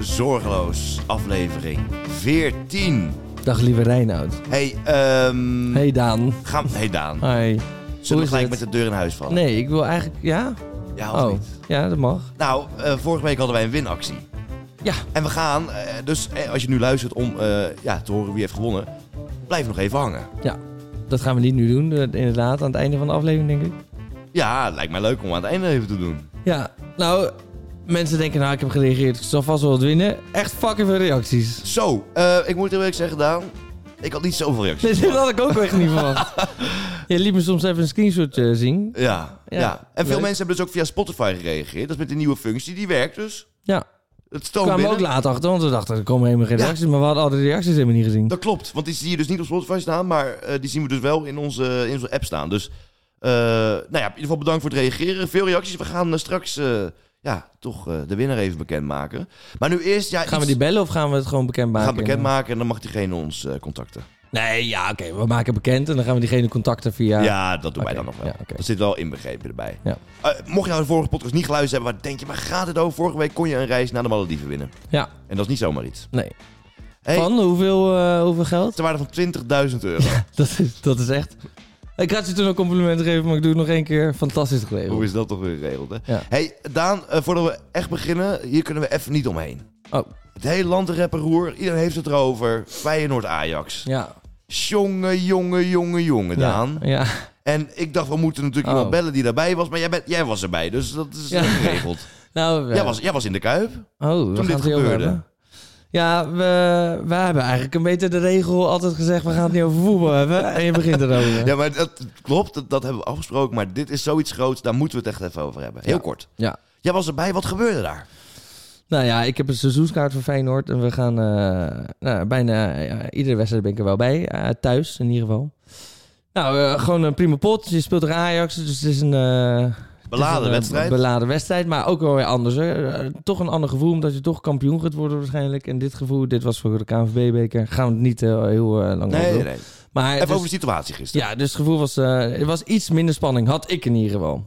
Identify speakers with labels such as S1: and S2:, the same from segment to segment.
S1: Zorgeloos, aflevering 14.
S2: Dag lieve Reinoud.
S1: Hey, ehm...
S2: Hey Daan.
S1: Gaan we... Hey Daan,
S2: Hi.
S1: zullen we
S2: is
S1: gelijk
S2: het?
S1: met de deur in huis vallen?
S2: Nee, ik wil eigenlijk... Ja?
S1: Ja, of
S2: Oh,
S1: niet?
S2: ja, dat mag.
S1: Nou, eh, vorige week hadden wij een winactie.
S2: Ja.
S1: En we gaan, eh, dus eh, als je nu luistert om eh, ja, te horen wie heeft gewonnen, blijf nog even hangen.
S2: Ja, dat gaan we niet nu doen. eh, Inderdaad, aan het einde van de aflevering, denk ik.
S1: Ja, lijkt mij leuk om aan het einde even te doen.
S2: Ja, nou, mensen denken, nou, ik heb gereageerd. Ik zal vast wel wat winnen. Echt fucking veel reacties.
S1: Zo, eh, ik moet heel eerlijk zeggen, Daan, ik had niet zoveel reacties.
S2: Nee, dat had ik ook echt niet verwacht. Je liet me soms even een screenshot eh, zien.
S1: Ja, ja.
S2: Ja,
S1: En veel
S2: leuk.
S1: mensen hebben dus ook via Spotify gereageerd. Dat is met die nieuwe functie, die werkt dus.
S2: Ja,
S1: Het
S2: we
S1: stoomt
S2: kwamen
S1: binnen.
S2: ook laat achter, want we dachten, er komen helemaal geen reacties. Maar we hadden al die reacties helemaal niet gezien.
S1: Dat klopt, want die zie je dus niet op Spotify staan, maar eh, die zien we dus wel in onze, in onze app staan. Dus eh, nou ja, in ieder geval bedankt voor het reageren. Veel reacties. We gaan eh, straks eh, ja, toch eh, de winnaar even bekendmaken. Maar nu eerst, ja,
S2: Gaan we
S1: iets-
S2: die bellen of gaan we het gewoon
S1: we
S2: bekendmaken?
S1: gaan bekendmaken en dan mag diegene ons eh, contacten.
S2: Nee, ja, oké. we maken bekend en dan gaan we diegene contacten via...
S1: Ja, dat doen wij dan
S2: Oké,
S1: nog wel.
S2: ja, oké.
S1: Dat zit wel inbegrepen erbij.
S2: Ja.
S1: Eh, mocht je nou de vorige podcast niet geluisterd hebben, waar denk je, waar gaat het over? Vorige week kon je een reis naar de Malediven winnen.
S2: Ja,
S1: En dat is niet zomaar iets.
S2: nee.
S1: Hey,
S2: Van hoeveel, eh, hoeveel geld?
S1: Ter waarde van 20.000 euro.
S2: Dat is, dat is echt. Ik had je toen een compliment gegeven, maar ik doe het nog één keer. Fantastisch
S1: Hoe
S2: geleverd.
S1: is dat toch weer geregeld, hè?
S2: Ja.
S1: Hey, Daan, eh, voordat we echt beginnen, hier kunnen we even niet omheen.
S2: Oh,
S1: Het hele land een roer, iedereen heeft het erover. Feyenoord-Ajax.
S2: ja.
S1: Jonge, jonge, jonge, jonge, Daan.
S2: Ja. ja.
S1: En ik dacht, we moeten natuurlijk
S2: Oh.
S1: iemand bellen die daarbij was, maar jij, bent, jij was erbij, dus dat is
S2: Ja.
S1: ook geregeld.
S2: Nou, we-
S1: Jij was, jij was in de Kuip.
S2: oh, we
S1: dit
S2: gaan het hier over
S1: gebeurde.
S2: hebben. Ja, we, we hebben eigenlijk een beetje de regel altijd gezegd: we gaan het niet over voetbal hebben. En je begint erover.
S1: Ja, maar dat klopt, dat, dat hebben we afgesproken, maar dit is zoiets groots, daar moeten we het echt even over hebben. Heel
S2: Ja.
S1: kort.
S2: Ja.
S1: Jij was erbij, wat gebeurde daar?
S2: Nou ja, ik heb een seizoenskaart voor Feyenoord. En we gaan eh, nou, bijna ja, iedere wedstrijd ben ik er wel bij. Eh, thuis in ieder geval. Nou, eh, gewoon een prima pot. Je speelt er Ajax, dus het is een... eh,
S1: Beladen
S2: het is een, eh,
S1: wedstrijd.
S2: Beladen wedstrijd, maar ook wel weer anders. Hè. Eh, toch een ander gevoel, omdat je toch kampioen gaat worden waarschijnlijk. En dit gevoel, dit was voor de KNVB-beker. Gaan we het niet eh, heel eh, lang over
S1: nee, nee,
S2: doen.
S1: nee.
S2: Maar
S1: Even
S2: dus-
S1: over de situatie gisteren.
S2: ja, dus het gevoel was, eh, er was iets minder spanning. Had ik in ieder geval.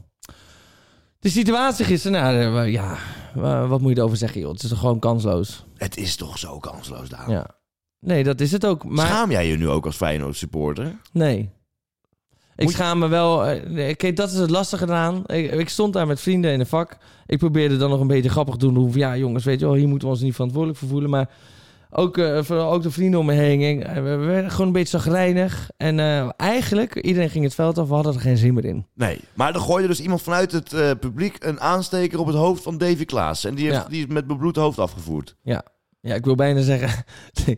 S2: De situatie gisteren, nou eh, wa- ja, wa- wat moet je erover zeggen joh? Het is toch gewoon kansloos.
S1: Het is toch zo kansloos, Daan.
S2: Ja. Nee, dat is het ook. Maar
S1: Schaam jij je nu ook als Feyenoord supporter?
S2: nee. Ik
S1: Moet je-
S2: schaam me wel. eh, nee, Kijk, dat is het lastige eraan. Ik, ik stond daar met vrienden in een vak. Ik probeerde dan nog een beetje grappig te doen. Hoe, ja, jongens, weet je wel, hier moeten we ons niet verantwoordelijk voor voelen. Maar ook, eh, vooral ook de vrienden om me heen. eh, We we werden gewoon een beetje zagrijnig. En eh, eigenlijk, iedereen ging het veld af. We hadden er geen zin meer in.
S1: Nee. Maar dan gooide dus iemand vanuit het eh, publiek een aansteker op het hoofd van Davy Klaas. En die, heeft,
S2: Ja.
S1: die is met bebloed hoofd afgevoerd.
S2: Ja, ik wil bijna zeggen.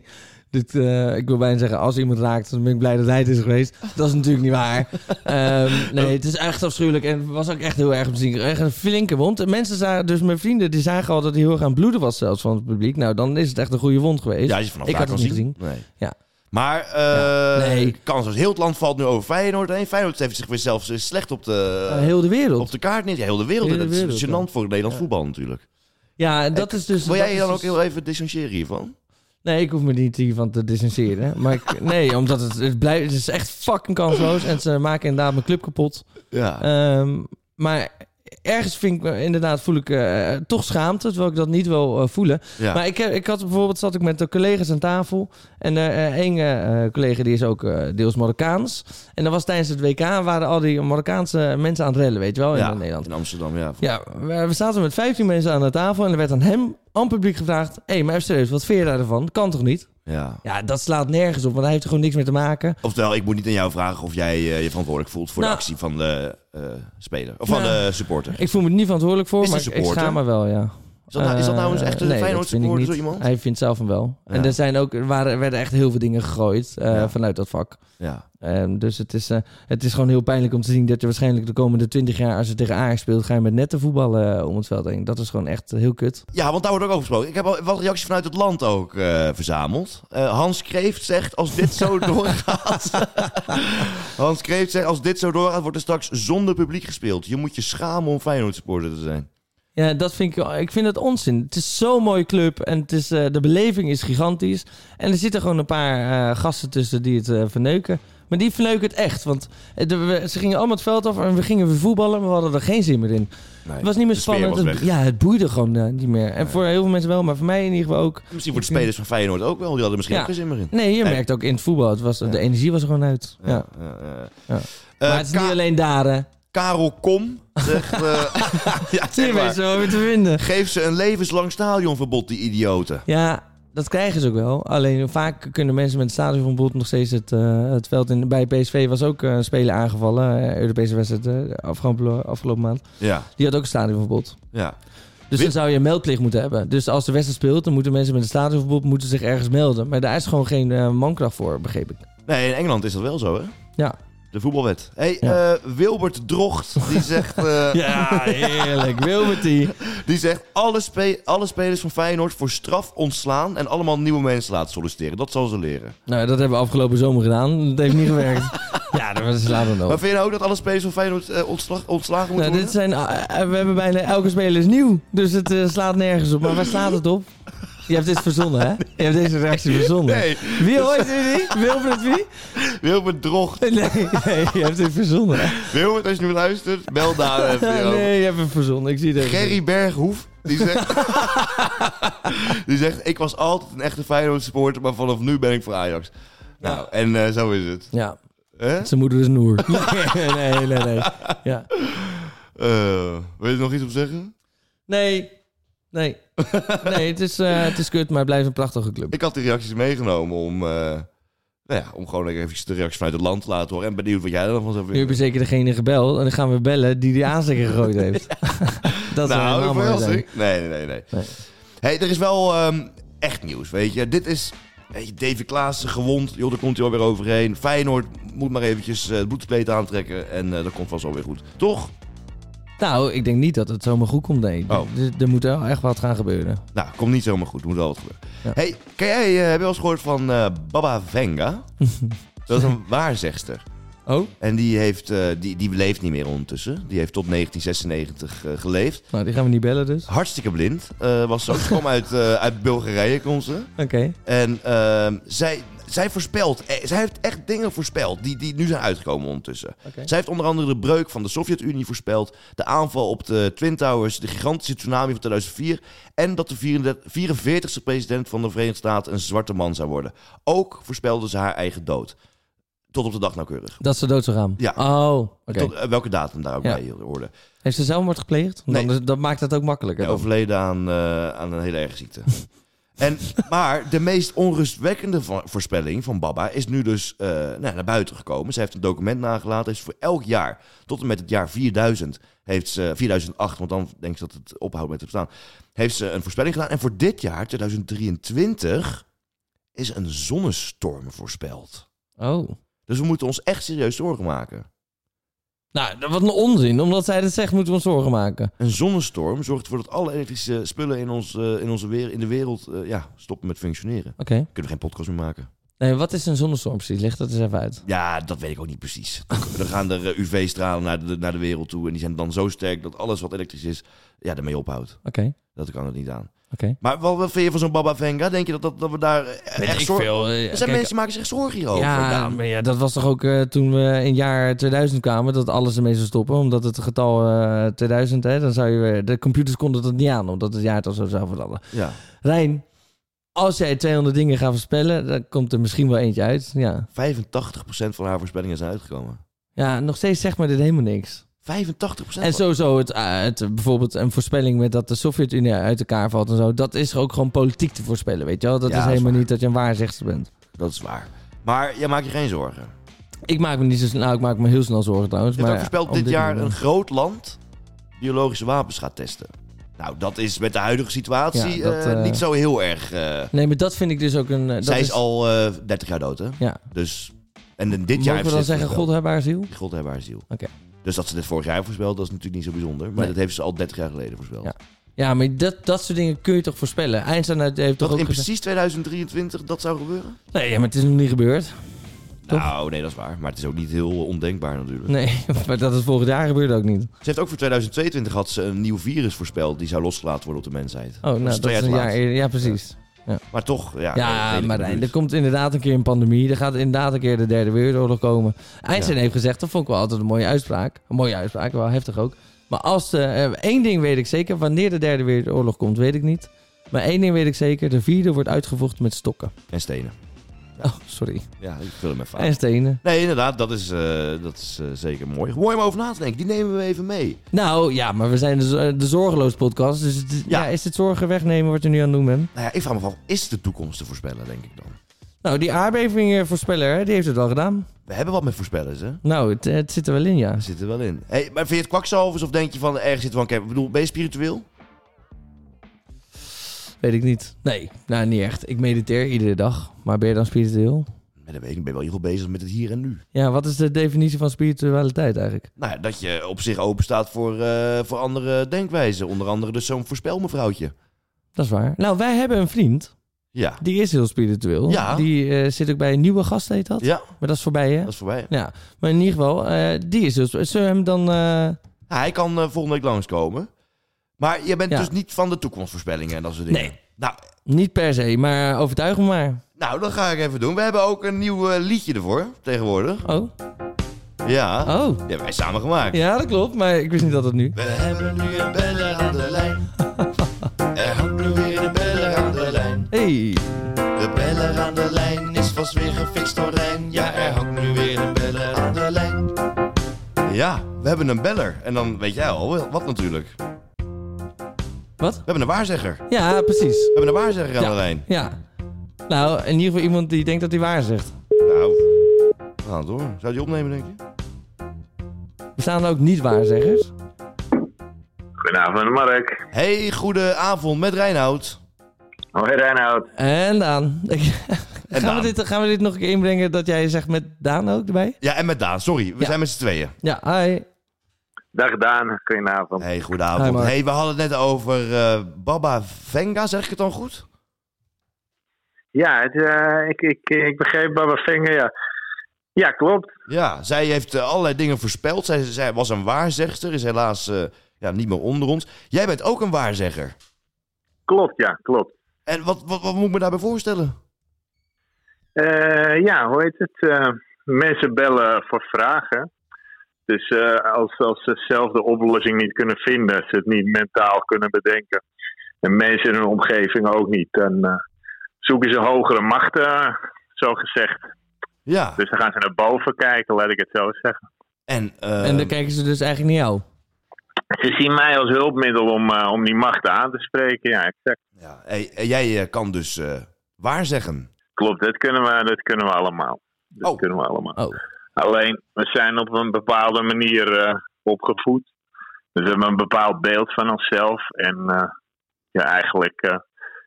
S2: Dit, eh, ik wil bijna zeggen, als iemand raakt, dan ben ik blij dat hij het is geweest. Dat is natuurlijk niet waar. Ehm, nee, het is echt afschuwelijk en het was ook echt heel erg om te zien. Echt een flinke wond. En mensen zagen, dus mijn vrienden, die zagen al dat hij heel erg aan het bloeden was zelfs van het publiek. Nou, dan is het echt een goede wond geweest.
S1: ja, als je vanaf
S2: ik
S1: daar
S2: had
S1: kan
S2: het niet
S1: zien. Nee.
S2: Ja.
S1: Maar eh
S2: nee.
S1: kansloos. Heel het land valt nu over Feyenoord heen. Feyenoord heeft zich weer zelfs eh, slecht op de,
S2: Eh, heel de wereld.
S1: op de kaart neer. Ja, heel de wereld.
S2: Heel de
S1: dat is
S2: wereld,
S1: gênant voor het Nederlands
S2: Ja.
S1: voetbal natuurlijk.
S2: Ja, en dat is dus...
S1: Wil
S2: dat
S1: jij je
S2: is
S1: dan
S2: dus-
S1: ook heel even distancieren hiervan?
S2: Nee, ik hoef me niet hiervan te distancieren. Maar ik, nee, omdat het, het, blijft, het is echt fucking kansloos. En ze maken inderdaad mijn club kapot.
S1: Ja.
S2: Ehm, maar ergens vind ik me- inderdaad voel ik eh, toch schaamte, terwijl ik dat niet wil eh, voelen.
S1: ja.
S2: Maar ik, heb- ik had bijvoorbeeld zat ik met de collega's aan tafel en eh, eh, één eh, eh, collega die is ook eh, deels Marokkaans. En dat was tijdens het WK waren al die Marokkaanse mensen aan het rellen, weet je wel, in eh,
S1: Ja,
S2: Nederland.
S1: In Amsterdam, ja.
S2: Ja, we, we zaten met 15 mensen aan de tafel en er werd aan hem aan publiek gevraagd: hé, hey, maar serieus, wat vind je daarvan? Kan toch niet?
S1: ja.
S2: Ja, dat slaat nergens op, want hij heeft er gewoon niks mee te maken.
S1: Oftewel, ik moet niet aan jou vragen of jij eh, je verantwoordelijk voelt voor de
S2: Nou.
S1: actie van de eh, speler. Of
S2: Nou.
S1: van de supporter.
S2: Ik voel me er niet verantwoordelijk voor,
S1: Is
S2: maar
S1: een
S2: ik- ik
S1: supporter?
S2: schaam me wel, ja.
S1: Is dat nou, is dat nou eens
S2: Eh,
S1: echt een
S2: nee, dat
S1: Feyenoord
S2: vind ik
S1: supporter, zo
S2: niet.
S1: iemand?
S2: Hij vindt zelf van wel. En
S1: Ja.
S2: er, zijn ook, er waren, er werden echt heel veel dingen gegooid eh,
S1: Ja.
S2: vanuit dat vak.
S1: Ja.
S2: Ehm, dus het is, eh, het is gewoon heel pijnlijk om te zien dat je waarschijnlijk de komende 20 jaar, als je tegen Ajax speelt, ga je met netten voetballen eh, om het veld heen. Dat is gewoon echt eh, heel kut.
S1: ja, want daar wordt ook over gesproken. Ik heb al wat reacties vanuit het land ook eh, verzameld. Eh, Hans Kreeft zegt, als dit zo doorgaat... Hans Kreeft zegt, als dit zo doorgaat, wordt er straks zonder publiek gespeeld. Je moet je schamen om Feyenoord supporter te zijn.
S2: Ja, dat vind ik, ik vind dat onzin. Het is zo'n mooie club en het is, eh, de beleving is gigantisch. En er zitten gewoon een paar eh, gasten tussen die het eh, verneuken. Maar die verneuken het echt. Want eh, de- we- ze gingen allemaal het veld af en we gingen weer voetballen, maar we hadden er geen zin meer in.
S1: Nee.
S2: Het was niet meer
S1: De sfeer
S2: spannend.
S1: was
S2: Het-
S1: weg.
S2: ja, het boeide gewoon eh, niet meer. En
S1: Nee.
S2: voor heel veel mensen wel, maar voor mij in ieder geval ook.
S1: Misschien voor de spelers van Feyenoord ook wel. Die hadden misschien
S2: Ja.
S1: ook geen zin meer in.
S2: Nee, je
S1: Nee.
S2: merkt ook in het voetbal, het was,
S1: Ja.
S2: de energie was er gewoon uit. Ja.
S1: ja, ja.
S2: Ja.
S1: Eh,
S2: maar het is
S1: Ka-
S2: niet alleen daar, hè.
S1: Karel Kom zegt... eh, ja, zeg maar.
S2: Hier ben je zo weer te vinden.
S1: Geef ze een levenslang stadionverbod, die idioten.
S2: Ja, dat krijgen ze ook wel. Alleen vaak kunnen mensen met het stadionverbod nog steeds het, eh, het veld in. Bij PSV was ook eh, een speler aangevallen. eh, Europese wedstrijd eh, afgelopen, afgelopen maand.
S1: Ja,
S2: Die had ook een stadionverbod.
S1: ja.
S2: Dus dan zou je een meldplicht moeten hebben. Dus als de wedstrijd speelt, dan moeten mensen met een stadionverbod moeten zich ergens melden. Maar daar is gewoon geen eh, mankracht voor, begreep ik.
S1: Nee, in Engeland is dat wel zo, hè?
S2: Ja.
S1: De voetbalwet. hey,
S2: Ja.
S1: eh, Wilbert Drocht, die zegt, eh,
S2: Ja, heerlijk. Wilbertie.
S1: die zegt alle, spe- alle spelers van Feyenoord voor straf ontslaan en allemaal nieuwe mensen laten solliciteren. Dat zal ze leren.
S2: Nou, dat hebben we afgelopen zomer gedaan. Dat heeft niet gewerkt. ja, dat was later nog.
S1: Maar vind je nou ook dat alle spelers van Feyenoord eh, ontslag- ontslagen moeten
S2: Nou, dit
S1: worden?
S2: zijn, eh, eh, we hebben bijna elke speler is nieuw. Dus het eh, slaat nergens op. Maar waar slaat het op? Je hebt dit verzonnen, hè? Je hebt deze reactie verzonnen.
S1: Nee,
S2: Wie hoort u die? Wilfred wie?
S1: Wilbert Drocht.
S2: Nee, nee, je hebt dit verzonnen.
S1: Wilbert, als je nu luistert, bel daar even hierover.
S2: Nee, je hebt het verzonnen. Ik zie het even.
S1: Gerry Berghoef, die zegt... die zegt, ik was altijd een echte Feyenoord supporter, maar vanaf nu ben ik voor Ajax. Nou, en eh, zo is het.
S2: Ja,
S1: Hè?
S2: zijn moeder is Noer. Nee, nee, nee. nee. Ja.
S1: Eh, wil je er nog iets op zeggen?
S2: Nee, nee. Nee, het is, eh, het is kut, maar het blijft een prachtige club.
S1: Ik had die reacties meegenomen om... eh, nou ja, om gewoon lekker even de reacties vanuit het land te laten horen. En benieuwd wat jij er dan van zou
S2: Nu heb je
S1: vinden.
S2: zeker degene gebeld en dan gaan we bellen die die aansteker gegooid heeft. Dat zou
S1: nou,
S2: helemaal mooi zijn.
S1: verrassing. Nee, nee, nee. nee.
S2: Nee.
S1: hey, er is wel ehm, echt nieuws, weet je. Dit is... Weet je, David Klaassen gewond. Joh, daar komt hij alweer overheen. Feyenoord moet maar eventjes eh, het bloedspleet aantrekken. En eh, dat komt vast alweer goed. Toch?
S2: Nou, ik denk niet dat het zomaar goed komt, nee. Dus
S1: Oh.
S2: Er, er moet wel echt wat gaan gebeuren.
S1: Nou, komt niet zomaar goed. Moet wel wat gebeuren.
S2: Ja.
S1: hey, ken jij, eh, heb je wel eens gehoord van eh, Baba Venga? dat is een waarzegster.
S2: Oh?
S1: En die, heeft, eh, die, die leeft niet meer ondertussen. Die heeft tot 1996 eh, geleefd.
S2: Nou, die gaan we niet bellen dus.
S1: Hartstikke blind. eh, was zo. Ze kwam uit, eh, uit Bulgarije, komt ze.
S2: Oké.
S1: En ehm, zij, zij voorspelt. eh, zij heeft echt dingen voorspeld die, die nu zijn uitgekomen ondertussen.
S2: Oké.
S1: Zij heeft onder andere de breuk van de Sovjet-Unie voorspeld. De aanval op de Twin Towers. De gigantische tsunami van 2004. En dat de 34 e president van de Verenigde Staten een zwarte man zou worden. Ook voorspelde ze haar eigen dood. Tot op de dag nauwkeurig.
S2: Dat ze dood zou gaan?
S1: Ja.
S2: Oh, oké.
S1: Tot, eh, welke datum daar ook
S2: Ja.
S1: bij hoorde.
S2: Heeft ze zelfmoord gepleegd? Want
S1: Nee.
S2: Dan, dat maakt het ook makkelijker.
S1: Ja,
S2: dan.
S1: overleden aan, eh, aan een hele erge ziekte. en, maar de meest onrustwekkende vo- voorspelling van Baba is nu dus eh, nou, naar buiten gekomen. Ze heeft een document nagelaten. Is voor elk jaar, tot en met het jaar 4000, heeft ze, 4008, want dan denk ik dat het ophoudt met te bestaan, heeft ze een voorspelling gedaan. En voor dit jaar, 2023, is een zonnestorm voorspeld.
S2: Oh.
S1: Dus we moeten ons echt serieus zorgen maken.
S2: Nou, dat- wat een onzin. Omdat zij dat zegt, moeten we ons zorgen maken.
S1: Een zonnestorm zorgt ervoor dat alle elektrische spullen in, ons, eh, in, onze weer, in de wereld eh, ja, stoppen met functioneren.
S2: Oké.
S1: Kunnen we geen podcast meer maken?
S2: Nee, wat is een zonnestorm precies? Leg dat eens even uit.
S1: Ja, dat weet ik ook niet precies. Dan gaan er eh, UV-stralen naar de, naar de wereld toe. En die zijn dan zo sterk dat alles wat elektrisch is, ja, ermee ophoudt.
S2: Oké,
S1: Dat kan het niet aan.
S2: oké.
S1: Maar wat, wat vind je van zo'n Baba Venga? Denk je dat, dat, dat we daar eh, echt zorgen... Er
S2: veel. eh,
S1: zijn
S2: kijk,
S1: mensen die maken zich zorgen hierover.
S2: Ja,
S1: Daan.
S2: maar ja, dat was toch ook eh, toen we in jaar 2000 kwamen, dat alles ermee zou stoppen. Omdat het getal eh, 2000, hè, dan zou je weer- de computers konden dat niet aan, omdat het jaartal zo zou veranderen.
S1: ja.
S2: Rijn, als jij 200 dingen gaat voorspellen, dan komt er misschien wel eentje uit. Ja,
S1: 85% van haar voorspellingen zijn uitgekomen.
S2: ja nog steeds zegt maar dit helemaal niks.
S1: 85%?
S2: En
S1: van-
S2: sowieso, het, eh, het, bijvoorbeeld een voorspelling met dat de Sovjet-Unie uit elkaar valt en zo, dat is ook gewoon politiek te voorspellen, weet je wel? Dat
S1: Ja,
S2: is
S1: dat is
S2: helemaal
S1: waar.
S2: niet dat je een waarzegster bent.
S1: Dat is waar. Maar jij maakt je geen zorgen.
S2: Ik maak me niet zo snel. Nou, ik maak me heel snel zorgen trouwens.
S1: Het
S2: maar
S1: ook voorspelt
S2: op
S1: dit jaar
S2: moment-
S1: een groot land biologische wapens gaat testen. Nou, dat is met de huidige situatie
S2: Ja, dat,
S1: eh,
S2: eh,
S1: niet zo heel erg. eh,
S2: Nee, maar dat vind ik dus ook een. eh, Dat
S1: zij is, al eh 30 jaar dood, hè?
S2: Ja.
S1: Dus, en in dit jaar...
S2: Mogen we dan
S1: heeft ze dit
S2: zeggen, God
S1: voorspeld.
S2: heb haar ziel?
S1: God hebben haar ziel.
S2: Oké.
S1: Dus dat ze dit vorig jaar voorspelde, dat is natuurlijk niet zo bijzonder. Maar
S2: Nee.
S1: dat heeft ze al 30 jaar geleden voorspeld.
S2: Ja, Ja, maar dat, dat soort dingen kun je toch voorspellen? Einstein heeft heeft toch
S1: dat
S2: ook
S1: in
S2: gezegd-
S1: precies 2023 dat zou gebeuren?
S2: Nee, ja, maar het is nog niet gebeurd. Toch?
S1: Nou, nee, dat is waar. Maar het is ook niet heel ondenkbaar natuurlijk.
S2: Nee, maar dat het volgend jaar gebeurt ook niet. Oh,
S1: Ze heeft ook voor 2022 had ze een nieuw virus voorspeld... die zou losgelaten worden op de mensheid.
S2: Oh, nou,
S1: is
S2: dat,
S1: twee
S2: is
S1: jaar
S2: een
S1: te
S2: jaar
S1: laat.
S2: eerder. Ja, precies. Ja. Ja.
S1: Maar toch, ja.
S2: Ja,
S1: redelijk
S2: maar
S1: in de
S2: nee,
S1: buurt.
S2: er komt inderdaad een keer een pandemie. Er gaat inderdaad een keer de derde wereldoorlog komen. Einstein
S1: Ja.
S2: heeft gezegd, dat vond ik wel altijd een mooie uitspraak. Een mooie uitspraak, wel heftig ook. Maar als de, eh, één ding weet ik zeker, wanneer de derde wereldoorlog komt, weet ik niet. Maar één ding weet ik zeker, de vierde wordt uitgevochten met stokken.
S1: En stenen.
S2: Oh, sorry.
S1: Ja, ik vul hem even aan.
S2: En stenen.
S1: Nee, inderdaad, dat is, eh, dat is eh, zeker mooi. Mooi om over na te denken. Die nemen we even mee.
S2: Nou ja, maar we zijn de, z- eh, de zorgeloos podcast. Dus het- ja.
S1: Ja.
S2: is het zorgen wegnemen wat je nu aan het doen bent?
S1: Nou ja, ik vraag me af, is de toekomst te voorspellen, denk ik dan?
S2: Nou, die aardbevingvoorspeller, hè, die heeft het wel gedaan.
S1: We hebben wat met voorspellers, hè?
S2: Nou, het, het zit er wel in, ja.
S1: Daar zit er wel in. Hey, maar vind je het kwakzalvers of denk je van ergens zit wel een cap? Ik bedoel, ben je spiritueel?
S2: Weet ik niet. Nee, nou niet echt. Ik mediteer iedere dag. Maar ben je dan spiritueel?
S1: Maar dat weet ik, niet. ik ben wel heel goed bezig met het hier en nu.
S2: Ja, wat is de definitie van spiritualiteit eigenlijk?
S1: Nou ja, dat je op zich open staat voor, eh, voor andere denkwijzen. Onder andere dus zo'n voorspelmevrouwtje.
S2: Dat is waar. Nou, wij hebben een vriend.
S1: Ja.
S2: Die is heel spiritueel.
S1: Ja.
S2: Die eh, zit ook bij een nieuwe gast, heet dat.
S1: Ja,
S2: Maar dat is voorbij, hè?
S1: dat is voorbij.
S2: Ja. Maar in ieder geval, eh, die is heel sp- Zullen we hem dan... eh,
S1: Nou, hij kan eh, volgende week langskomen. Maar je bent
S2: Ja.
S1: dus niet van de toekomstvoorspellingen en dat soort dingen.
S2: Nee.
S1: Nou,
S2: Niet per se, maar overtuig hem maar.
S1: nou, dat ga ik even doen. We hebben ook een nieuw eh, liedje ervoor, tegenwoordig.
S2: Oh.
S1: Ja.
S2: Oh.
S1: Die hebben wij samen gemaakt.
S2: Ja, dat klopt. Maar ik wist niet dat het nu...
S1: We hebben nu een beller aan de lijn. Er hangt nu weer een beller aan de lijn.
S2: Hey.
S1: De beller aan de lijn is vast weer gefixt door Rijn. Ja, er hangt nu weer een beller aan de lijn. Ja, we hebben een beller. En dan weet jij al wel wat natuurlijk. We
S2: Wat?
S1: hebben een waarzegger. We
S2: Ja, precies.
S1: hebben een waarzegger aan
S2: Ja.
S1: de lijn.
S2: Ja. Nou, in ieder geval iemand die denkt dat hij waar zegt.
S1: Nou, we gaan door. Zou je opnemen, denk je?
S2: Bestaan er ook niet-waarzeggers?
S3: Goedenavond, Mark.
S1: Hey, goede avond met Reinoud.
S3: Hoi, Reinoud.
S2: En Daan. Ik- gaan,
S1: Daan.
S2: We dit, gaan we dit nog een keer inbrengen dat jij zegt met Daan ook erbij?
S1: Ja, en met Daan. Sorry, we
S2: Ja.
S1: zijn met z'n tweeën.
S2: Ja, hi.
S3: Dag Daan, goedenavond.
S1: Hey, goede
S2: Hi,
S1: avond.
S2: Mark.
S1: hey, we hadden het net over eh Baba Venga. Zeg ik het dan goed?
S3: Ja, het, eh, ik, ik, ik begreep Baba Vinger, ja. Ja, klopt.
S1: Ja, zij heeft eh, allerlei dingen voorspeld. Zij, zij was een waarzegster, is helaas eh, ja, niet meer onder ons. Jij bent ook een waarzegger.
S3: Klopt, ja, klopt.
S1: En wat, wat, wat moet ik me daarbij voorstellen?
S3: Eh, ja, hoe heet het? Eh, mensen bellen voor vragen. Dus eh, als, als ze zelf de oplossing niet kunnen vinden, als ze het niet mentaal kunnen bedenken, en mensen in hun omgeving ook niet, dan eh, zoeken ze hogere machten, eh, zo gezegd.
S1: Ja,
S3: Dus dan gaan ze naar boven kijken, laat ik het zo zeggen.
S1: en, eh,
S2: en dan kijken ze dus eigenlijk naar jou.
S3: Ze zien mij als hulpmiddel om, eh, om die machten aan te spreken. Ja, exact.
S1: ja, hey, en jij eh, kan dus eh, waarzeggen.
S3: Klopt, dat kunnen we, dat kunnen we allemaal. Dat
S1: Oh.
S3: kunnen we allemaal.
S2: Oh,
S3: Alleen, we zijn op een bepaalde manier eh, opgevoed. Dus we hebben een bepaald beeld van onszelf. En eh, ja, eigenlijk eh,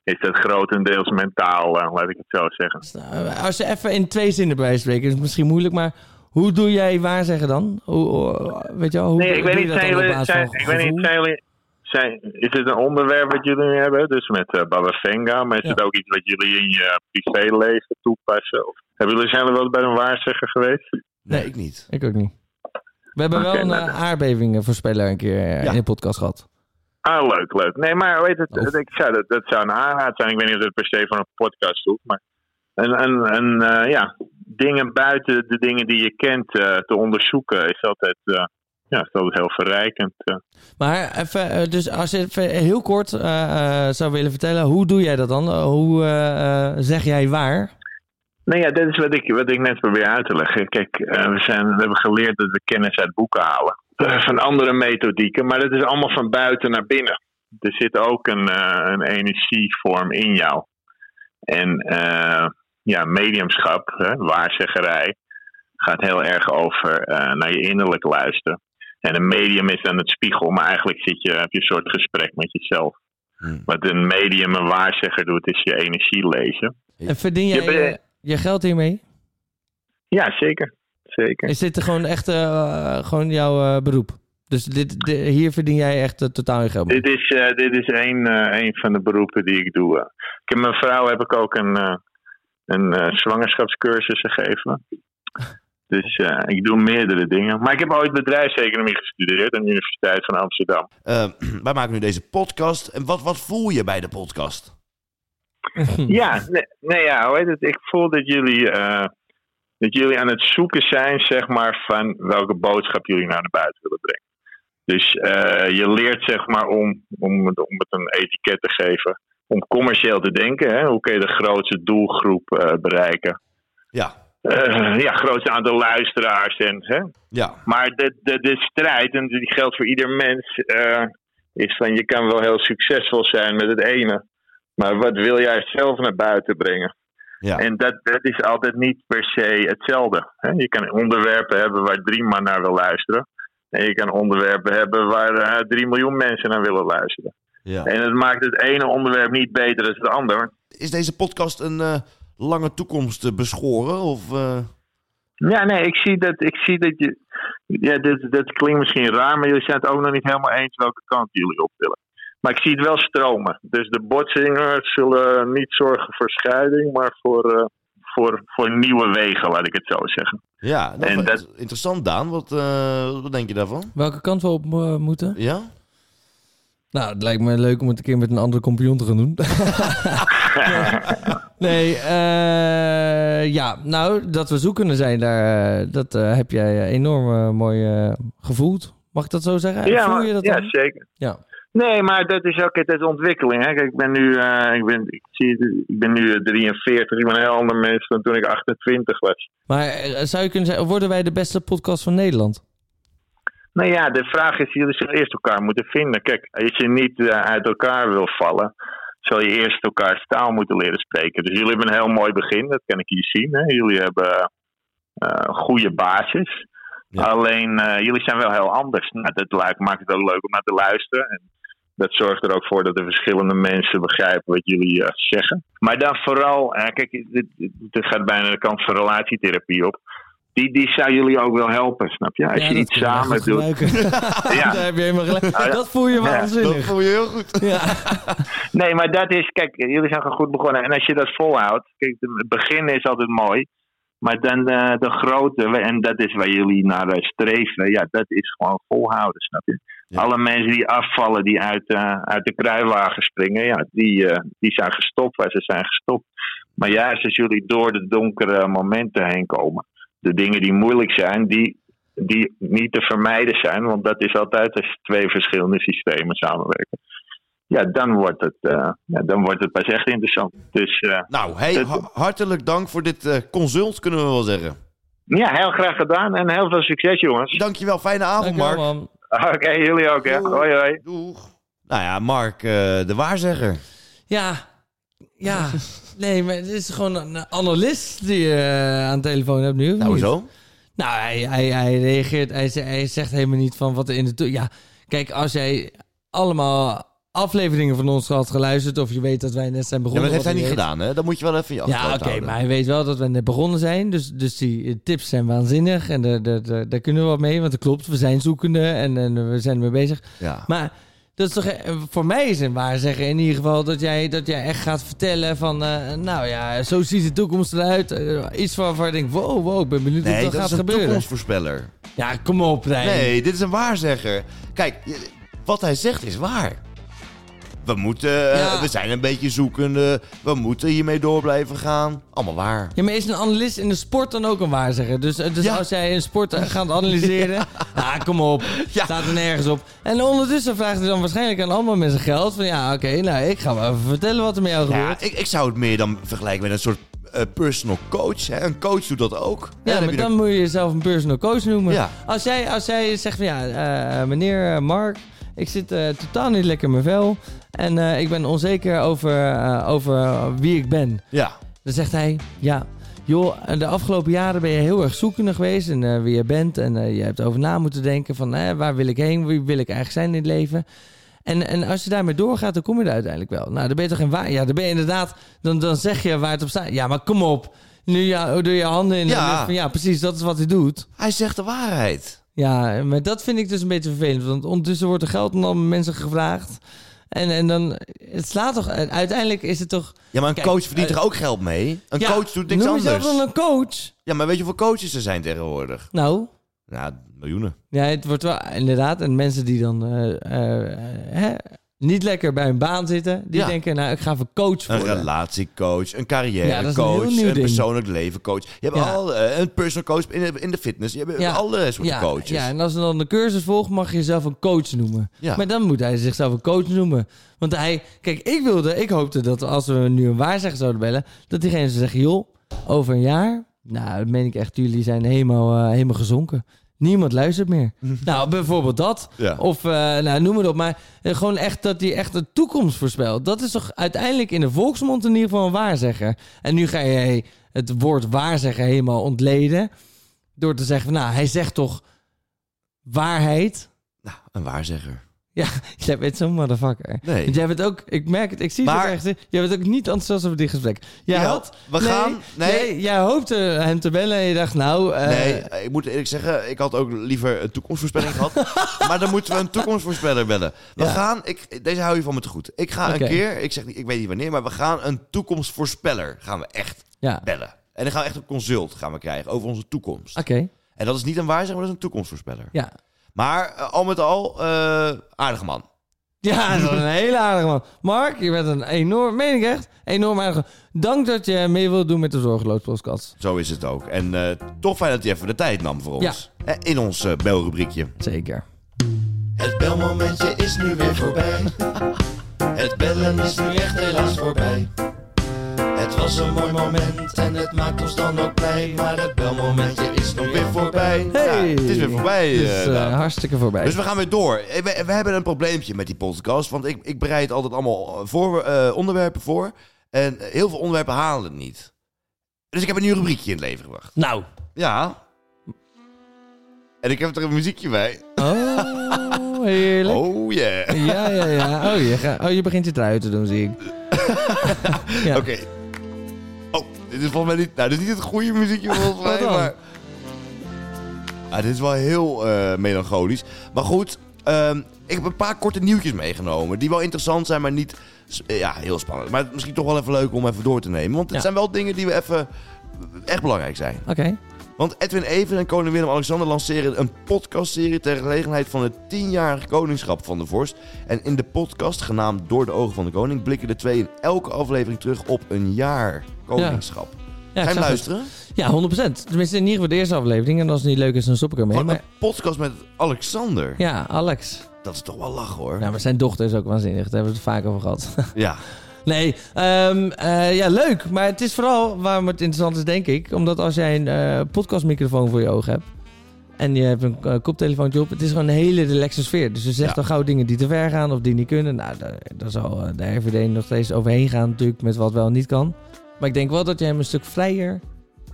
S3: is dat grotendeels mentaal, eh, laat ik het zo zeggen.
S2: Dus, eh, als je even in twee zinnen bij spreken, is het misschien moeilijk, maar hoe doe jij waarzeggen dan? Hoe, hoe- weet je wel, hoe
S3: Nee, ik
S2: doe
S3: weet
S2: je
S3: niet,
S2: dat dan
S3: zijn
S2: op
S3: jullie,
S2: basis
S3: zijn,
S2: van
S3: ik weet niet,
S2: gevoel?
S3: zijn jullie, zijn, is het een onderwerp wat jullie hebben? Dus met eh Baba Venga, maar is
S2: Ja.
S3: het ook iets wat jullie in je eh, privéleven toepassen? Of, hebben jullie, zijn jullie wel eens bij een waarzegger geweest?
S1: Nee,
S2: Nee.
S1: ik niet.
S2: Ik ook niet. We hebben
S3: Oké,
S2: wel een
S3: nou,
S2: eh, aardbevingenvoorspeller een keer eh,
S1: Ja.
S2: in de podcast gehad.
S3: Ah, leuk, leuk. Nee, maar weet het,
S2: Of-
S3: het- ik zou, dat, dat zou een aanraad zijn. Ik weet niet of het per se van een podcast hoeft, maar een, een, een, eh, ja, dingen buiten de dingen die je kent eh, te onderzoeken is altijd, eh, ja, is altijd heel verrijkend. eh.
S2: Maar even, eh, dus als je even heel kort eh, eh, zou willen vertellen, hoe doe jij dat dan? Eh, hoe eh, eh, zeg jij waar?
S3: Nou ja, dat is wat ik, wat ik net probeer uit te leggen. Kijk, eh, we, zijn, we hebben geleerd dat we kennis uit boeken halen. Eh, Van andere methodieken, maar dat is allemaal van buiten naar binnen. Er zit ook een, eh, een energievorm in jou. En eh, ja, mediumschap, hè, waarzeggerij, gaat heel erg over eh, naar je innerlijk luisteren. En een medium is dan het spiegel, maar eigenlijk zit je, heb je een soort gesprek met jezelf.
S1: Hm.
S3: Wat een medium, een waarzegger doet, is je energie lezen.
S2: En verdien jij
S3: Je
S2: eh, je,
S3: bent-
S2: geld hiermee?
S3: Ja, zeker. Zeker.
S2: Is dit gewoon echt eh, gewoon jouw eh, beroep? Dus dit, de- hier verdien jij echt eh, totaal je geld mee?
S3: Dit is, eh dit is één, eh één van de beroepen die ik doe. eh. Ik heb mijn vrouw heb ik ook een, eh, een eh, zwangerschapscursus gegeven. Dus eh, ik doe meerdere dingen. Maar ik heb ooit bedrijfseconomie gestudeerd aan de Universiteit van Amsterdam.
S1: Ehm, Eh, wij maken nu deze podcast. En wat, wat voel je bij de podcast?
S3: Ja, nee, nee, ja, hoe heet het? Ik voel dat jullie, eh, dat jullie aan het zoeken zijn, zeg maar, van welke boodschap jullie nou naar buiten willen brengen. Dus eh, je leert, zeg maar, om, om, het, om het een etiket te geven, om commercieel te denken. Hè? Hoe kun je de grootste doelgroep eh, bereiken?
S1: Ja,
S3: Eh, ja, grootste aantal luisteraars en hè,
S1: ja,
S3: maar de, de, de strijd, en die geldt voor ieder mens, eh, is van je kan wel heel succesvol zijn met het ene. Maar wat wil jij zelf naar buiten brengen?
S1: ja.
S3: En dat, dat is altijd niet per se hetzelfde. Hè? Je kan onderwerpen hebben waar drie man naar wil luisteren. En je kan onderwerpen hebben waar eh, drie miljoen mensen naar willen luisteren.
S1: ja.
S3: En het maakt het ene onderwerp niet beter dan het ander.
S1: Is deze podcast een eh, lange toekomst eh, beschoren? Of, eh,
S3: Ja, nee, ik zie dat, ik zie dat je. Ja, dit, dat klinkt misschien raar, maar jullie zijn het ook nog niet helemaal eens welke kant jullie op willen. Maar ik zie het wel stromen. Dus de botsingers zullen niet zorgen voor scheiding, maar voor, eh, voor, voor nieuwe wegen, laat ik het zo zeggen.
S1: Ja, nou,
S3: En
S1: wat-
S3: dat-
S1: interessant Daan. Wat, eh, wat denk je daarvan?
S2: Welke kant we op eh, moeten?
S1: Ja?
S2: Nou, het lijkt me leuk om het een keer met een andere kampioen te gaan doen. nee, eh, ja, nou, dat we zo kunnen zijn, daar, eh, dat eh, heb jij eh, enorm eh, mooi eh, gevoeld. Mag ik dat zo zeggen? Voel
S3: maar-
S2: je dat
S3: ja
S2: dan?
S3: zeker.
S2: Ja.
S3: Nee, maar dat is ook het is ontwikkeling. Hè. Kijk, ik ben nu, eh, ik ben, ik, zie, het, ik ben nu eh, 43, ik ben een heel ander mens dan toen ik 28 was.
S2: Maar eh, zou je kunnen zeggen, worden wij de beste podcast van Nederland?
S3: Nou ja, de vraag is, jullie zullen eerst elkaar moeten vinden. Kijk, als je niet eh, uit elkaar wil vallen, zal je eerst elkaars taal moeten leren spreken. Dus jullie hebben een heel mooi begin, dat kan ik hier zien. Hè. Jullie hebben eh, een goede basis.
S1: Ja.
S3: Alleen, eh, jullie zijn wel heel anders. Nou, dat lijkt- maakt het ook leuk om naar te luisteren. En dat zorgt er ook voor dat de verschillende mensen begrijpen wat jullie eh, zeggen. Maar dan vooral, eh, kijk, dit, dit- dit gaat bijna de kant van relatietherapie op. Die, die zou jullie ook wel helpen, snap je? Als je iets
S2: kunnen we
S3: samen
S2: goed
S3: doet.
S2: gebruiken.
S3: Ja. Ah,
S2: Daar heb je helemaal gelijk.
S3: ja.
S2: Dat voel je
S3: Ja,
S1: Dat
S2: waanzinnig.
S1: voel je heel goed.
S2: Ja.
S3: Nee, maar dat is, kijk, jullie zijn gewoon goed begonnen. En als je dat volhoudt, kijk, het begin is altijd mooi. Maar dan de, de grote, en dat is waar jullie naar eh, streven, ja, dat is gewoon volhouden, snap je?
S1: Ja.
S3: Alle mensen die afvallen, die uit, eh, uit de kruiwagen springen, ja, die, eh, die zijn gestopt waar ze zijn gestopt. Maar juist als jullie door de donkere momenten heen komen, de dingen die moeilijk zijn, die, die niet te vermijden zijn, want dat is altijd als twee verschillende systemen samenwerken. Ja, dan wordt het, eh, ja, dan wordt het pas echt interessant. Dus eh,
S1: Nou, hey,
S3: Dat-
S1: ha- hartelijk dank voor dit eh, consult, kunnen we wel zeggen.
S3: ja, heel graag gedaan en heel veel succes, jongens.
S1: Dankjewel, fijne avond,
S2: Dankjewel,
S1: Mark.
S2: man.
S3: Oké, jullie ook, hè?
S1: Doei.
S3: Hoi, hoi.
S1: Doeg. Nou ja, Mark, eh, de waarzegger.
S2: Ja. Ja. Nee, maar het is gewoon een analist die je eh, aan de telefoon hebt nu. of
S1: Nou,
S2: niet?
S1: zo.
S2: Nou, hij, hij, hij reageert. Hij, ze- hij zegt helemaal niet van wat er in de. to- Ja, kijk, als jij allemaal afleveringen van ons had geluisterd. of je weet dat wij net zijn
S1: Ja, maar
S2: begonnen.
S1: dat heeft
S2: wat
S1: hij niet
S2: weet.
S1: gedaan, hè? Dat moet je wel even in je
S2: Ja,
S1: achterhoofd
S2: oké,
S1: houden.
S2: maar hij weet wel dat we net begonnen zijn. Dus, dus die eh, tips zijn waanzinnig. En daar- daar- daar- daar kunnen we wat mee. Want dat klopt, we zijn zoekende en, en we zijn ermee bezig.
S1: Ja.
S2: Maar dat is toch, eh, voor mij is een waarzegger in ieder geval dat jij, dat jij echt gaat vertellen van, eh, nou ja, zo ziet de toekomst eruit. Eh, iets waarvan je denkt, wow, wow, ik ben benieuwd
S1: Nee,
S2: wat
S1: dat,
S2: er gaat
S1: is een
S2: gebeuren.
S1: toekomstvoorspeller.
S2: Ja, kom op, Rijn.
S1: Nee, dit is een waarzegger. Kijk, je- wat hij zegt is waar. We moeten, eh,
S2: Ja.
S1: we zijn een beetje zoekende. We moeten hiermee door blijven gaan. Allemaal waar.
S2: Ja, maar is een analist in de sport dan ook een waarzegger? Dus, eh, dus
S1: Ja.
S2: als jij een sport eh, gaat analyseren... Ah, kom op.
S1: Ja.
S2: Staat er nergens op. En ondertussen vraagt hij dan waarschijnlijk aan allemaal mensen geld. Van ja, oké, nou, ik ga wel even vertellen wat er met jou
S1: Nou
S2: gebeurt.
S1: Ja, ik, ik zou het meer dan vergelijken met een soort eh, personal coach. Hè? Een coach doet dat ook.
S2: Ja,
S1: En
S2: maar
S1: heb je
S2: dan moet je jezelf een personal coach noemen.
S1: Ja.
S2: Als, jij, als jij zegt van ja, eh, meneer eh, Mark, ik zit eh, totaal niet lekker in mijn vel. En eh, ik ben onzeker over, eh, over wie ik ben.
S1: Ja,
S2: Dan zegt hij, ja, joh, eh, de afgelopen jaren ben je heel erg zoekende geweest en eh, wie je bent. En eh, je hebt over na moeten denken van eh, waar wil ik heen, wie wil ik eigenlijk zijn in het leven. En, en als je daarmee doorgaat, dan kom je er uiteindelijk wel. Nou, dan ben je toch geen waar. Ja, dan ben je inderdaad, dan, dan zeg je waar het op staat. Ja, maar kom op. Nu ja, doe je handen in. de
S1: Ja.
S2: lucht van, ja, precies, dat is wat hij doet.
S1: hij zegt de waarheid.
S2: Ja, maar dat vind ik dus een beetje vervelend. Want ondertussen wordt er geld aan alle mensen gevraagd. En, en dan, het slaat toch, uiteindelijk is het toch...
S1: Ja, maar een
S2: Kijk,
S1: coach verdient
S2: eh,
S1: er ook geld mee. Een
S2: Ja,
S1: coach doet niks
S2: noem
S1: anders.
S2: jezelf dan een coach?
S1: Ja, maar weet je hoeveel coaches er zijn tegenwoordig?
S2: Nou,
S1: Nou, miljoenen.
S2: Ja, het wordt wel inderdaad. En mensen die dan eh, eh, hè, niet lekker bij een baan zitten. Die
S1: Ja.
S2: denken, nou, ik ga even coach
S1: Een
S2: worden.
S1: relatiecoach, een
S2: Ja, dat is een heel
S1: carrièrecoach,
S2: nieuw
S1: een,
S2: ding.
S1: persoonlijk levencoach. Je hebt
S2: Ja.
S1: al eh, een personal coach in de, in de fitness. Je hebt
S2: Ja.
S1: alle soorten
S2: ja,
S1: coaches.
S2: Ja, en als hij dan de cursus volgt, mag je jezelf een coach noemen.
S1: Ja.
S2: Maar dan moet hij zichzelf een coach noemen. Want hij, kijk, ik wilde, ik hoopte dat als we nu een waarzegger zouden bellen, dat diegene zou zeggen, joh, over een jaar, nou, dat meen ik echt, jullie zijn helemaal, eh, helemaal gezonken. Niemand luistert meer. nou, bijvoorbeeld dat.
S1: Ja.
S2: Of, eh, nou, noem het op. Maar eh, gewoon echt dat hij echt de toekomst voorspelt. Dat is toch uiteindelijk in de volksmond in ieder geval een waarzegger. En nu ga jij het woord waarzegger helemaal ontleden. Door te zeggen, van, nou, hij zegt toch waarheid.
S1: Nou, een waarzegger.
S2: Ja, jij bent zo'n motherfucker.
S1: Nee.
S2: Want jij bent ook, ik merk het, ik zie
S1: Maar-
S2: het echt. Jij bent ook niet enthousiast over dit gesprek. Jij
S1: Jawel,
S2: had,
S1: we
S2: nee,
S1: gaan- nee.
S2: jij hoopte hem te bellen en je dacht, nou... eh,
S1: nee, ik moet eerlijk zeggen, ik had ook liever een toekomstvoorspelling gehad. Maar dan moeten we een toekomstvoorspeller bellen. We
S2: Ja.
S1: gaan, ik, deze hou je van me te goed. Ik ga
S2: Oké.
S1: een keer, ik, zeg niet, ik weet niet wanneer, maar we gaan een toekomstvoorspeller gaan we echt
S2: Ja, oké.
S1: bellen. En dan gaan we echt een consult gaan we krijgen over onze toekomst. En dat is niet een waarzegger, maar dat is een toekomstvoorspeller.
S2: Ja,
S1: Maar eh, al met al, eh aardige man.
S2: Ja, dat is een hele aardige man. Mark, je bent een enorm, meen ik echt, enorm aardige Dank dat je mee wilt doen met de Zorgeloos Podcast.
S1: Zo is het ook. En eh, toch fijn dat hij even de tijd nam voor ons. Eh, In ons eh, belrubriekje.
S2: Zeker.
S1: Het belmomentje is nu weer voorbij. Het bellen is nu echt helaas voorbij. Het was een mooi moment en het maakt ons dan ook blij. Maar het belmomentje is nu weer voorbij.
S2: Hey!
S1: Ja, het is weer voorbij.
S2: Dus
S1: eh,
S2: eh,
S1: Daan.
S2: hartstikke voorbij.
S1: Dus we gaan weer door. Eh, We, we hebben een probleempje met die podcast. Want ik, ik bereid altijd allemaal voor, eh, onderwerpen voor. En heel veel onderwerpen halen het niet. Dus ik heb een nieuw rubriekje in het leven gebracht.
S2: Nou.
S1: Ja. En ik heb er een muziekje bij.
S2: Oh, heerlijk.
S1: Oh yeah.
S2: Ja, ja, ja. Oh je, gaat- oh, je begint je trui te doen, zie ik. Ja.
S1: Oké. Oh, dit is volgens mij niet... Nou, dit is niet het goede muziekje volgens mij,
S2: dan?
S1: maar... Ah, dit is wel heel eh, melancholisch. Maar goed, ehm, ik heb een paar korte nieuwtjes meegenomen. Die wel interessant zijn, maar niet... s- eh, Ja, heel spannend. Maar misschien toch wel even leuk om even door te nemen. Want het
S2: Ja.
S1: zijn wel dingen die we even... Echt belangrijk zijn.
S2: Oké.
S1: Want Edwin Even en koning Willem-Alexander lanceren een podcastserie ter gelegenheid van het 10-jarige koningschap van de vorst. En in de podcast, genaamd Door de Ogen van de Koning, blikken de twee in elke aflevering terug op een jaar koningschap. Ga
S2: Ja, ik
S1: je
S2: zag
S1: hem
S2: het.
S1: luisteren?
S2: Ja, 100%. Tenminste, in ieder geval de eerste aflevering. En als het niet leuk is, dan stop ik ermee.
S1: Gewoon
S2: Maar,
S1: een podcast met Alexander.
S2: ja, Alex.
S1: Dat is toch wel lachen hoor.
S2: Nou, maar zijn dochter is ook waanzinnig. Daar hebben we het vaak over gehad.
S1: Ja.
S2: Nee, ehm, eh, ja, leuk. Maar het is vooral waarom het interessant is, denk ik. Omdat als jij een eh, podcastmicrofoon voor je ogen hebt. En je hebt een eh, koptelefoontje op. Het is gewoon een hele relaxe sfeer. Dus je zegt
S1: Ja.
S2: dan gauw dingen die te ver gaan of die niet kunnen. Nou, daar, daar zal eh, de RVD nog steeds overheen gaan natuurlijk met wat wel en niet kan. Maar ik denk wel dat jij hem een stuk vrijer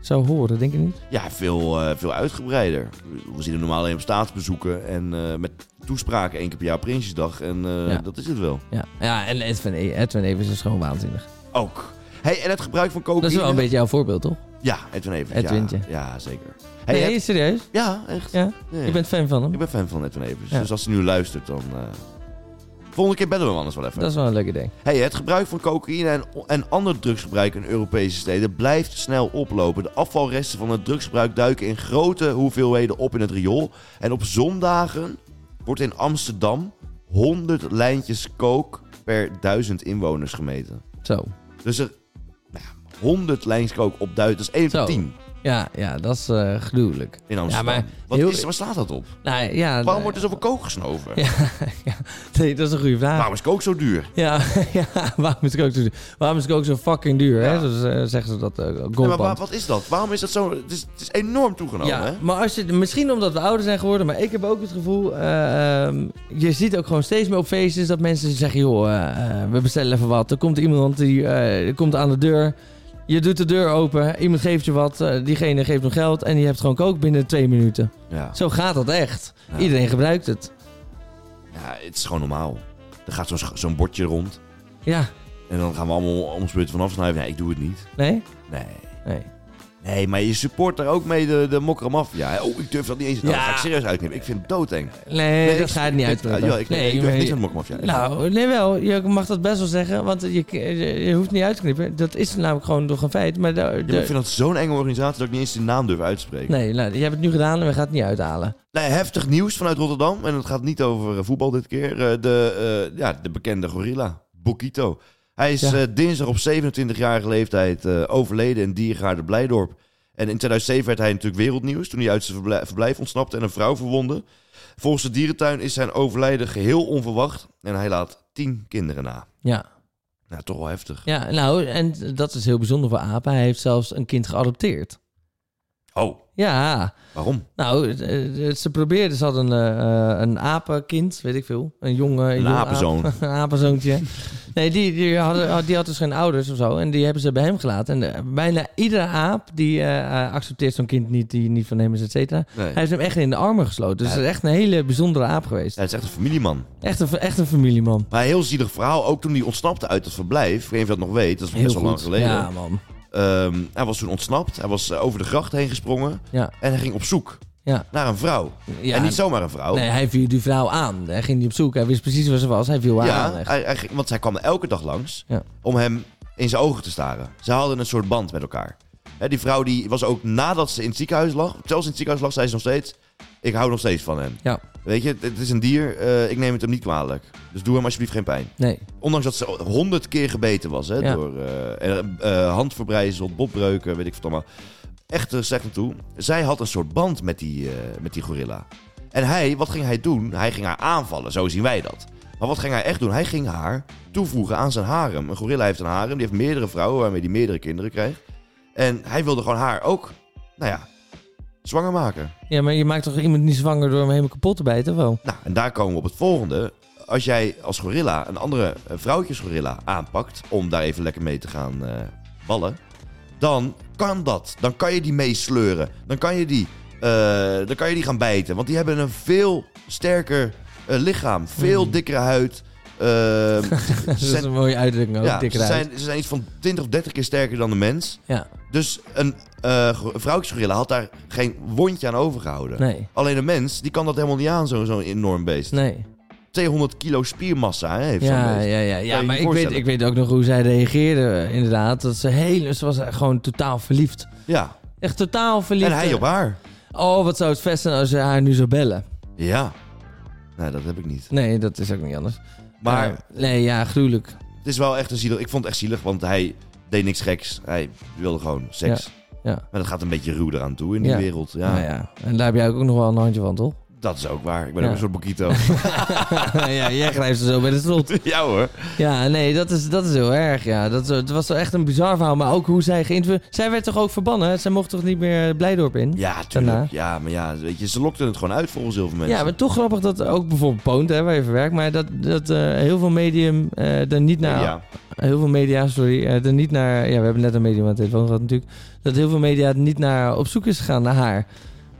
S2: zou horen, denk je niet?
S1: Ja, veel, eh, veel uitgebreider. We zien hem normaal alleen op staatsbezoeken en eh, met toespraken één keer per jaar Prinsjesdag. En eh,
S2: Ja.
S1: dat is het wel.
S2: Ja, ja en Edwin, E- Edwin Evers is gewoon waanzinnig.
S1: Ook. Hey, en het gebruik van
S2: Dat
S1: cocaïne.
S2: is wel een beetje jouw voorbeeld, toch?
S1: Ja, Edwin Evers.
S2: Edwintje.
S1: Ja, ja, zeker. Hey,
S2: Nee,
S1: Ed-
S2: serieus?
S1: Ja, echt.
S2: Ja?
S1: Ja, ja.
S2: Je bent fan van hem?
S1: Ik ben fan van Edwin Evers.
S2: Ja.
S1: Dus als ze nu luistert, dan... eh, Volgende keer bellen we hem anders wel even.
S2: Dat is wel een leuke ding.
S1: Hey, het gebruik van cocaïne en, en ander drugsgebruik in Europese steden blijft snel oplopen. De afvalresten van het drugsgebruik duiken in grote hoeveelheden op in het riool. En op zondagen wordt in Amsterdam 100 lijntjes kook per 1000 inwoners gemeten.
S2: Zo.
S1: Dus er... Nou, ja, 100 lijntjes kook op 1000, dat is 1
S2: Zo.
S1: op 10
S2: Ja, ja, dat is eh, gruwelijk.
S1: in Amsterdam.
S2: maar
S1: Wat
S2: heel-
S1: is, waar slaat dat op?
S2: Nou, ja,
S1: Waarom
S2: nee.
S1: wordt er zoveel kook gesnoven?
S2: Ja, ja, nee, dat is een goede vraag.
S1: Waarom is kook zo duur?
S2: Ja, ja, waarom is het ook zo duur? Waarom is het ook zo fucking duur, hè?
S1: Ja.
S2: Dus, eh, zeggen ze dat, eh goldband.
S1: Nee, maar wa- wat is dat? Waarom is dat zo? Het is, het is enorm toegenomen,
S2: ja,
S1: hè?
S2: maar als je, misschien omdat we ouder zijn geworden, maar ik heb ook het gevoel... eh, ehm, je ziet ook gewoon steeds meer op feestjes dat mensen zeggen... joh, eh, eh, we bestellen even wat. Er komt iemand die eh, komt aan de deur. Je doet de deur open, iemand geeft je wat. eh, diegene geeft nog geld en je hebt gewoon kook binnen twee minuten.
S1: Ja.
S2: Zo gaat dat echt.
S1: Ja.
S2: Iedereen gebruikt het.
S1: ja, het is gewoon normaal. Er gaat zo'n sch- zo'n bordje rond
S2: Ja,
S1: en dan gaan we allemaal ons beurt van afsnijden. Nee, ik doe het niet.
S2: nee?
S1: Nee,
S2: Nee.
S1: nee, Hé, hey, maar je support daar ook mee de, de mokkere maffia. hè? Oh, ik durf dat niet eens. Ja. Dat
S2: Ja.
S1: ga ik serieus uitnemen. Ik vind het doodeng.
S2: Nee,
S1: Nee,
S2: dat
S1: ik-
S2: ga je niet
S1: ik-
S2: uitleggen.
S1: ja, ik- ik durf
S2: maar-
S1: niks aan de mokkenmafia.
S2: Nou, nee wel. Je mag dat best wel zeggen, want je, je, je hoeft niet uit te knippen. Dat is namelijk gewoon toch een feit. Maar, de-
S1: Ja,
S2: de-
S1: maar ik vind dat zo'n enge organisatie dat ik niet eens de naam durf uit te spreken.
S2: Nee, nou, je hebt het nu gedaan en we gaan het niet uithalen.
S1: Nou, heftig nieuws vanuit Rotterdam. En het gaat niet over eh, voetbal dit keer. Eh, de, eh, ja, de bekende gorilla, Bokito. Hij is
S2: Ja.
S1: eh, dinsdag op 27-jarige leeftijd eh, overleden in Diergaarde Blijdorp. En in 2007 werd hij natuurlijk wereldnieuws toen hij uit zijn verblijf, verblijf ontsnapte en een vrouw verwonde. Volgens de dierentuin is zijn overlijden geheel onverwacht en hij laat tien kinderen na.
S2: Ja.
S1: Nou, toch wel heftig.
S2: ja, nou, en dat is heel bijzonder voor Apen. Hij heeft zelfs een kind geadopteerd.
S1: Oh,
S2: Ja,
S1: waarom?
S2: nou, eh, eh, ze probeerden, ze hadden een, eh, een apenkind, weet ik veel. Een jonge,
S1: Een apenzoon.
S2: een apenzoontje. Nee, die, die, hadden, had- die had dus geen ouders of zo. En die hebben ze bij hem gelaten. En eh, bijna iedere aap die eh, eh, accepteert zo'n kind niet, die niet van hem is, et cetera.
S1: Nee.
S2: Hij heeft hem echt in de armen gesloten. Dus
S1: Ja.
S2: het is echt een hele bijzondere aap geweest.
S1: Hij is echt een familieman.
S2: Echt een, echt een familieman.
S1: Maar een heel zielig verhaal. Ook toen hij ontsnapte uit het verblijf. Ik weet niet of je dat nog weet. Dat is
S2: Heel
S1: best wel
S2: goed.
S1: lang geleden.
S2: Ja, man.
S1: Ehm, hij was toen ontsnapt. Hij was eh, over de gracht heen gesprongen.
S2: Ja.
S1: En hij ging op zoek
S2: Ja.
S1: naar een vrouw.
S2: ja.
S1: En niet zomaar een vrouw.
S2: Nee, hij viel die vrouw aan. Hij ging niet op zoek. Hij wist precies waar ze was. Hij viel haar
S1: ja,
S2: aan. echt.
S1: hij, hij ging- want zij kwam er elke dag langs
S2: Ja.
S1: om hem in zijn ogen te staren. Ze hadden een soort band met elkaar. Hè, die vrouw die was ook nadat ze in het ziekenhuis lag. Zelfs in het ziekenhuis lag, zei ze nog steeds... Ik hou nog steeds van hem.
S2: Ja.
S1: Weet je, het, het is een dier. eh, ik neem het hem niet kwalijk. Dus doe hem alsjeblieft geen pijn.
S2: Nee.
S1: Ondanks dat ze honderd keer gebeten was. Hè,
S2: Ja.
S1: Door eh, er- eh, handverbrijzel, botbreuken, weet ik wat allemaal. Echt eh, slecht aan toe. Zij had een soort band met die, eh, met die gorilla. En hij, wat ging hij doen? Hij ging haar aanvallen, zo zien wij dat. Maar wat ging hij echt doen? Hij ging haar toevoegen aan zijn harem. Een gorilla heeft een harem, die heeft meerdere vrouwen waarmee hij meerdere kinderen krijgt. En hij wilde gewoon haar ook, nou ja, zwanger maken.
S2: Ja, maar je maakt toch iemand niet zwanger door hem helemaal kapot te bijten? of Wel?
S1: Nou, en daar komen we op het volgende. Als jij als gorilla een andere eh, vrouwtjesgorilla aanpakt... om daar even lekker mee te gaan eh, ballen... dan kan dat. Dan kan je die meesleuren. Dan, kan je die, eh, dan kan je die gaan bijten. Want die hebben een veel sterker eh, lichaam. Veel dikkere huid. eh, ze
S2: Mm. Dat is
S1: zijn-
S2: een mooie uitdrukking ook.
S1: ja,
S2: dikke
S1: ze,
S2: ruit.
S1: zijn, ze zijn iets van 20 of 30 keer sterker dan de mens.
S2: Ja.
S1: Dus een eh, go- vrouwtjesgorilla had daar geen wondje aan overgehouden.
S2: Nee.
S1: Alleen een mens, die kan dat helemaal niet aan, zo'n zo'n enorm beest.
S2: Nee.
S1: 200 kilo spiermassa hè, heeft zo'n
S2: Ja,
S1: beest.
S2: ja, ja, ja.
S1: je je
S2: Maar ik weet,
S1: voorstellen?
S2: ik weet ook nog hoe zij reageerde, eh, inderdaad. Dat ze, heel, ze was gewoon totaal verliefd.
S1: Ja.
S2: Echt totaal verliefd.
S1: En hij op haar.
S2: Oh, wat zou het vet zijn als je haar nu zou bellen?
S1: Ja. Nou, dat heb ik niet.
S2: Nee, dat is ook niet anders.
S1: Maar
S2: Ja, nee, ja, gruwelijk.
S1: het is wel echt een zielig... Ik vond het echt zielig, want hij deed niks geks. Hij wilde gewoon seks.
S2: ja.
S1: Maar dat gaat een beetje ruw eraan toe in die
S2: Ja.
S1: wereld. Ja,
S2: Nou ja. En daar heb jij ook nog wel een handje van, toch?
S1: Dat is ook waar. Ik ben
S2: Ja.
S1: ook een soort boquito.
S2: ja, jij grijpt ze zo bij de strot.
S1: ja hoor.
S2: Ja, nee, dat is, dat is heel erg. Ja. Dat, is- het was wel echt een bizar verhaal. Maar ook hoe zij geïnterviewd... Zij werd toch ook verbannen? hè? Zij mocht toch niet meer Blijdorp in?
S1: Ja, tuurlijk.
S2: Daarna.
S1: Ja, maar ja, weet je, ze lokten het gewoon uit volgens heel veel mensen.
S2: Ja, maar toch grappig dat ook bijvoorbeeld Poont, hè, waar je voor werkt... maar dat, dat eh, heel veel medium eh er niet naar...
S1: Ja.
S2: Heel veel media, sorry, eh, er niet naar... Ja, we hebben net een medium aan de telefoon gehad natuurlijk... dat heel veel media er niet naar op zoek is gegaan naar haar.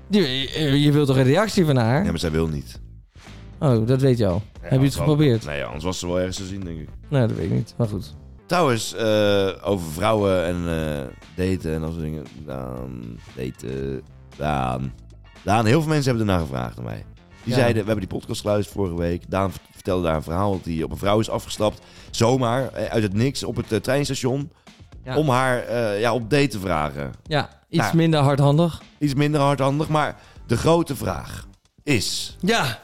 S2: Je, eh, je, je wilt toch een reactie van haar?
S1: Nee, maar zij wil niet.
S2: Oh, dat weet je al.
S1: Ja,
S2: Heb je het
S1: anders wel-
S2: geprobeerd?
S1: Nee, anders was ze wel ergens te zien, denk ik.
S2: Nou, dat weet ik niet. Maar goed.
S1: Trouwens, eh, over vrouwen en eh, daten en dat soort dingen. Daan, daten, Daan. Daan, heel veel mensen hebben ernaar gevraagd aan mij. Die
S2: Ja.
S1: zeiden, we hebben die podcast geluisterd vorige week. Daan v- vertelde daar een verhaal dat hij op een vrouw is afgestapt. Zomaar, eh, uit het niks, op het eh, treinstation.
S2: Ja.
S1: Om haar eh, ja, op date te vragen.
S2: Ja, iets
S1: Nou.
S2: minder hardhandig.
S1: Iets minder hardhandig, maar de grote vraag is...
S2: Ja,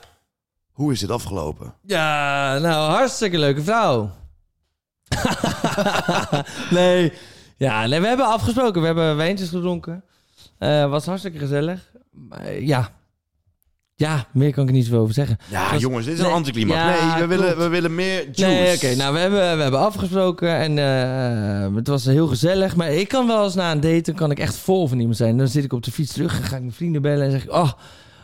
S1: Hoe is dit afgelopen?
S2: ja, nou, hartstikke leuke vrouw. nee. Ja, nee, we hebben afgesproken. We hebben wijntjes gedronken. Eh, was hartstikke gezellig. Maar, ja. Ja, meer kan ik er niet zoveel over zeggen.
S1: Ja,
S2: Dat-
S1: jongens, dit is
S2: Nee,
S1: een anticlimax.
S2: ja,
S1: nee, we
S2: klopt.
S1: willen, we willen meer juice.
S2: Nee, oké. nou, we hebben, we hebben afgesproken en eh, het was heel gezellig. Maar ik kan wel eens na een date, dan kan ik echt vol van iemand zijn. Dan zit ik op de fiets terug en ga ik mijn vrienden bellen en zeg ik... Oh,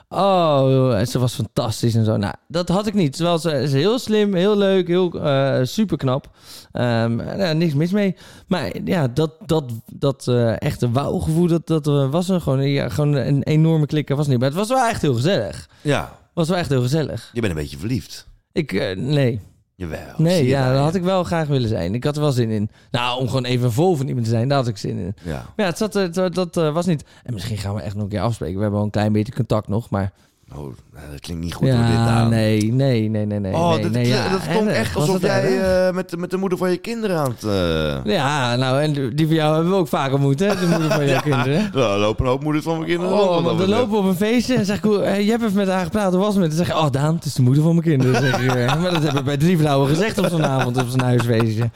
S2: oh, ze was fantastisch en zo. Nou, dat had ik niet. Terwijl ze, ze is heel slim, heel leuk, heel eh super knap. eh, niks mis mee. Maar ja, dat, dat, dat eh echte wauwgevoel, dat, dat eh, was er gewoon. Ja, gewoon een enorme klik, er was niet. Maar het was wel echt heel gezellig.
S1: Ja,
S2: was wel echt heel gezellig.
S1: je bent een beetje verliefd.
S2: Ik, eh, nee.
S1: Jawel. Oh, zie
S2: Nee,
S1: je
S2: ja,
S1: daar,
S2: dat had ik wel graag willen zijn. Ik had er wel zin in. Nou, om gewoon even vol van iemand te zijn, daar had ik zin in.
S1: Ja.
S2: Maar ja, het zat, er- het- dat eh, was niet. En misschien gaan we echt nog een keer afspreken. We hebben wel een klein beetje contact nog, maar.
S1: Oh, nou, dat klinkt niet goed door dit
S2: ja,
S1: aan.
S2: nee, nee, nee, nee, nee.
S1: Oh,
S2: nee,
S1: dat,
S2: nee, ja,
S1: dat klonk
S2: erg.
S1: echt
S2: Was
S1: alsof
S2: dat
S1: jij
S2: erg?
S1: eh, met, de- met de moeder van je kinderen aan het... eh,
S2: Ja, nou, en die van jou hebben we ook vaker moeten, hè? De moeder van jouw kinderen.
S1: Nou, er lopen een hoop moeders van mijn kinderen rond,
S2: Oh,
S1: wat dat
S2: want we
S1: betreft.
S2: lopen op een feestje en zeg ik, hoe- eh, je hebt even met haar gepraat, hoe was het? met haar? Dan zeg je, oh Daan, het is de moeder van mijn kinderen. Zeg ik, eh. maar dat hebben we bij drie vrouwen gezegd op zo'n avond, op zo'n huisfeestje.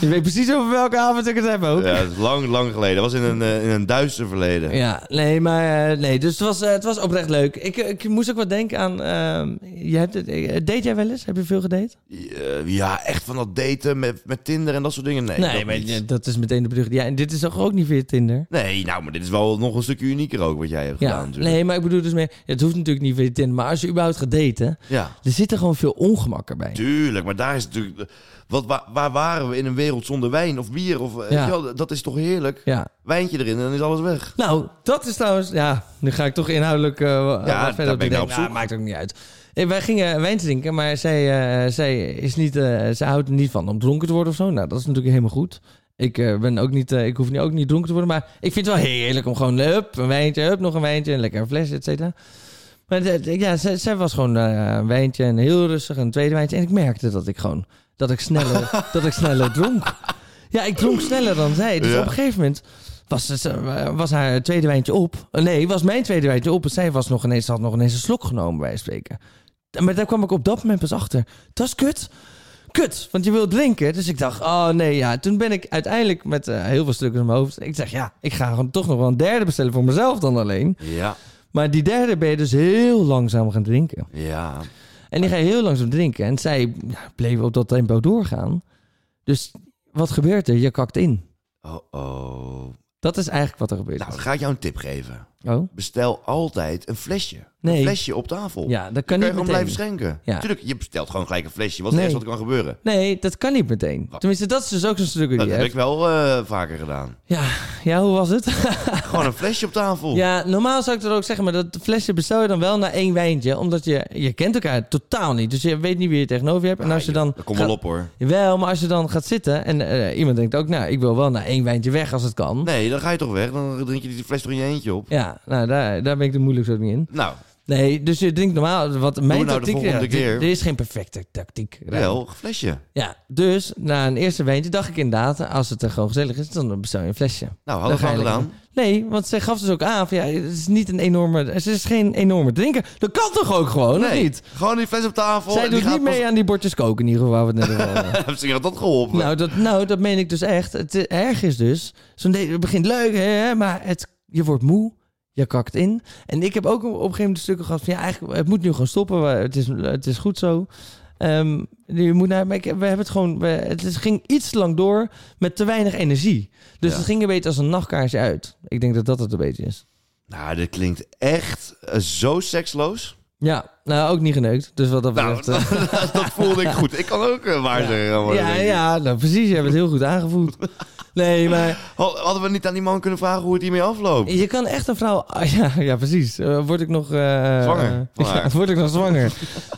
S2: Je weet precies over welke avond ik het heb ook.
S1: Ja, dat is lang, lang geleden. Dat was in een, eh, in een duister verleden.
S2: Ja, nee, maar eh, nee, dus het was, eh, het was oprecht leuk. Ik, eh, ik moest ook wat denken aan. ehm, je hebt het, eh, date jij wel eens? Heb je veel gedate?
S1: Eh, Ja, echt van dat daten met, met Tinder en dat soort dingen. Nee, dat niet.
S2: maar, dat is meteen de brug. Ja, en dit is toch ook niet via Tinder?
S1: Nee, nou, maar dit is wel nog een stukje unieker ook wat jij hebt
S2: Ja,
S1: gedaan natuurlijk.
S2: nee, maar ik bedoel dus meer. Het hoeft natuurlijk niet via Tinder, maar als je überhaupt gaat daten,
S1: Ja,
S2: er zit er gewoon veel ongemak erbij.
S1: tuurlijk. Maar daar is natuurlijk... Wat, waar, waar waren we in een wereld zonder wijn of bier? Of, eh, weet je wel, dat is toch heerlijk?
S2: Ja.
S1: Wijntje erin en dan is alles weg.
S2: Nou, dat is trouwens. Ja, nu ga ik toch inhoudelijk. eh, wat
S1: daar
S2: verder
S1: ben
S2: op die
S1: ik naar
S2: date.
S1: op zoek.
S2: Nou, maakt ook niet uit. Eh, Wij gingen wijn drinken, maar zij, eh, zij, is niet, eh, zij houdt er niet van om dronken te worden of zo. Nou, dat is natuurlijk helemaal goed. Ik, eh, ben ook niet, eh, ik hoef niet, ook niet dronken te worden, maar ik vind het wel heerlijk om gewoon hup, een wijntje, hup, nog een wijntje, een lekker flesje, et cetera. Maar de- de- ja, zij, zij was gewoon eh, een wijntje en heel rustig, een tweede wijntje. En ik merkte dat ik gewoon, dat ik sneller, dat ik sneller dronk. Ja, ik dronk sneller dan zij. Dus
S1: Ja.
S2: op een gegeven moment was, het, eh, was haar tweede wijntje op. Eh, Nee, was mijn tweede wijntje op. En zij was nog ineens, had nog ineens een slok genomen, bij wijze van spreken. Maar daar kwam ik op dat moment pas achter. Dat is kut. Kut, want je wil drinken. Dus ik dacht, oh nee, ja. Toen ben ik uiteindelijk met eh, heel veel stukken in mijn hoofd. Ik zeg, ja, ik ga gewoon toch nog wel een derde bestellen voor mezelf dan alleen.
S1: Ja,
S2: Maar die derde ben je dus heel langzaam gaan drinken.
S1: ja.
S2: En die ga je heel langzaam drinken. En zij ja, bleef op dat tempo doorgaan. Dus wat gebeurt er? Je kakt in.
S1: Oh, oh.
S2: Dat is eigenlijk wat er gebeurt.
S1: Nou, dan ga ik jou een tip geven.
S2: oh.
S1: Bestel altijd een flesje. Een
S2: Nee.
S1: flesje op tafel.
S2: Ja, dat
S1: Kun
S2: kan
S1: je
S2: niet
S1: gewoon
S2: meteen.
S1: blijven schenken.
S2: Ja.
S1: Tuurlijk, je bestelt gewoon gelijk een flesje. Wat is het
S2: Nee.
S1: eerste wat er kan gebeuren?
S2: Nee, dat kan niet meteen.
S1: Wat?
S2: Tenminste, dat is dus ook zo'n stuk die
S1: Dat
S2: je
S1: heb ik
S2: hebt.
S1: wel eh, vaker gedaan.
S2: Ja, ja, hoe was het?
S1: Gewoon een flesje op tafel.
S2: Ja, normaal zou ik dat ook zeggen, maar dat flesje bestel je dan wel na één wijntje. Omdat je, je kent elkaar totaal niet. Dus je weet niet wie je tegenover je hebt. En als je dan...
S1: Ah, Dat komt
S2: gaat-
S1: wel op hoor.
S2: Jawel, maar als je dan gaat zitten en eh, iemand denkt ook, nou, ik wil wel na één wijntje weg als het kan.
S1: Nee, dan ga je toch weg. Dan drink je die fles toch in je eentje op.
S2: Ja, nou, daar, daar ben ik de moeilijkste ook niet in.
S1: Nou,
S2: Nee, dus je drinkt normaal. Wat mijn
S1: nou de
S2: tactiek
S1: volgende
S2: ja, dit-
S1: keer.
S2: Er is geen perfecte tactiek.
S1: wel, een flesje.
S2: Ja, dus na een eerste wijntje dacht ik inderdaad, als het er gewoon gezellig is, dan bestel je een flesje.
S1: Nou,
S2: Dan
S1: hadden we
S2: ga je
S1: gewoon gedaan.
S2: lekker- Nee, want zij gaf dus ook aan van ja, het is niet een enorme, ze is geen enorme drinker. Dat kan toch ook gewoon, of Oh, niet?
S1: Gewoon die fles op tafel.
S2: Zij
S1: en die
S2: doet niet
S1: gaat
S2: mee aan die bordjes koken in ieder geval. waar we het net over hadden.
S1: Pas... Heb ze had dat geholpen?
S2: nou, dat, nou, dat meen ik dus echt. Het eh, erg is dus, zo'n date het begint leuk, hè, maar het, je wordt moe. Je kakt in. En ik heb ook op een gegeven moment stukken gehad van... ja, eigenlijk, het moet nu gewoon stoppen. maar Het is, het is goed zo. Ehm, je moet naar, maar ik, we hebben het gewoon... We, het is- ging iets te lang door met te weinig energie. Dus
S1: Ja.
S2: het ging een beetje als een nachtkaarsje uit. Ik denk dat dat het een beetje is.
S1: nou, dit klinkt echt eh, zo seksloos.
S2: Ja, nou ook niet geneukt. Dus wat dat
S1: Nou,
S2: betreft. eh,
S1: dat, dat voelde ik goed. Ik kan ook eh, waar zeggen. worden,
S2: ja,
S1: denk ik.
S2: ja, nou precies. Je hebt het heel goed aangevoeld. Nee, maar
S1: Had- Hadden we niet aan die man kunnen vragen hoe het hiermee afloopt?
S2: je kan echt een vrouw. ah, ja, ja, precies. Eh, word ik nog. eh,
S1: Zwanger, Oh,
S2: eh,
S1: van
S2: ja,
S1: haar.
S2: word ik nog zwanger?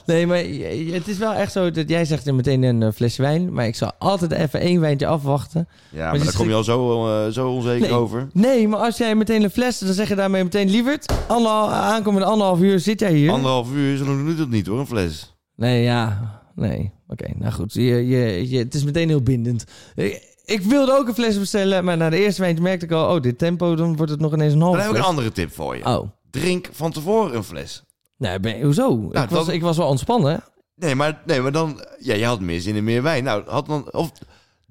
S2: Nee, maar je- je- het is wel echt zo dat jij zegt er meteen een eh, flesje wijn. Maar ik zal altijd even één wijntje afwachten.
S1: Ja, maar,
S2: je
S1: daar kom je al zo, eh, zo onzeker
S2: Nee.
S1: over.
S2: Nee, maar als jij meteen een fles, dan zeg je daarmee meteen lieverd. Anderhal, aankomende anderhalf uur zit jij hier.
S1: Anderhalf uur, zo doet het niet hoor, een
S2: Oh,
S1: fles.
S2: Nee, ja. Nee. Oké, nou goed. Je, je, je, het is meteen heel bindend. Ik, ik wilde ook een fles bestellen, maar na de eerste wijntje merkte ik al... oh, dit tempo, dan wordt het nog ineens een half.
S1: Dan heb ik een andere tip voor je.
S2: Oh.
S1: Drink van tevoren een fles.
S2: Nee, ben, hoezo? ik, was,
S1: Nou, dan-
S2: ik was wel ontspannen.
S1: Nee, maar, nee, maar dan... Ja, je had meer zin in meer wijn. Nou, had dan... Of,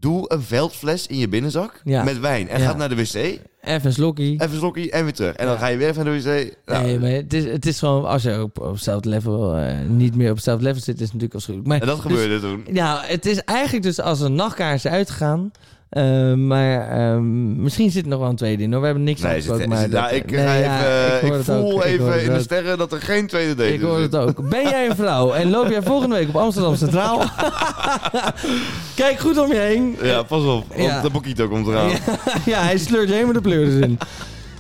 S1: Doe een veldfles in je binnenzak
S2: Ja.
S1: met wijn. En
S2: Ja.
S1: gaat naar de wc. Even
S2: Even een slokkie.
S1: een slokje en weer terug. En dan ga je weer even naar de wc. Nou,
S2: nee, maar het is, het is gewoon... als je op, op hetzelfde level eh, niet meer op hetzelfde level zit... is het natuurlijk afschuwelijk. Maar,
S1: En dat
S2: dus-
S1: gebeurde toen.
S2: Nou, het is eigenlijk dus als een nachtkaars uitgaan. Eh, maar ehm, misschien zit er nog wel een tweede in. Hoor. We hebben niks
S1: Nee, zit,
S2: afgesproken, maar
S1: zit-
S2: dat-
S1: nou, ik,
S2: nee,
S1: ga
S2: ja,
S1: even,
S2: hoor
S1: ik,
S2: het
S1: voel
S2: ook, ik hoor
S1: even
S2: het
S1: in de
S2: ook.
S1: sterren dat er geen tweede date
S2: Ik hoor
S1: is.
S2: het ook. Ben jij een vrouw en loop jij volgende week op Amsterdam Centraal? Kijk goed om je heen.
S1: Ja, pas op, want
S2: Ja.
S1: de Bokito komt eraan.
S2: ja, hij sleurt je helemaal de pleuris in.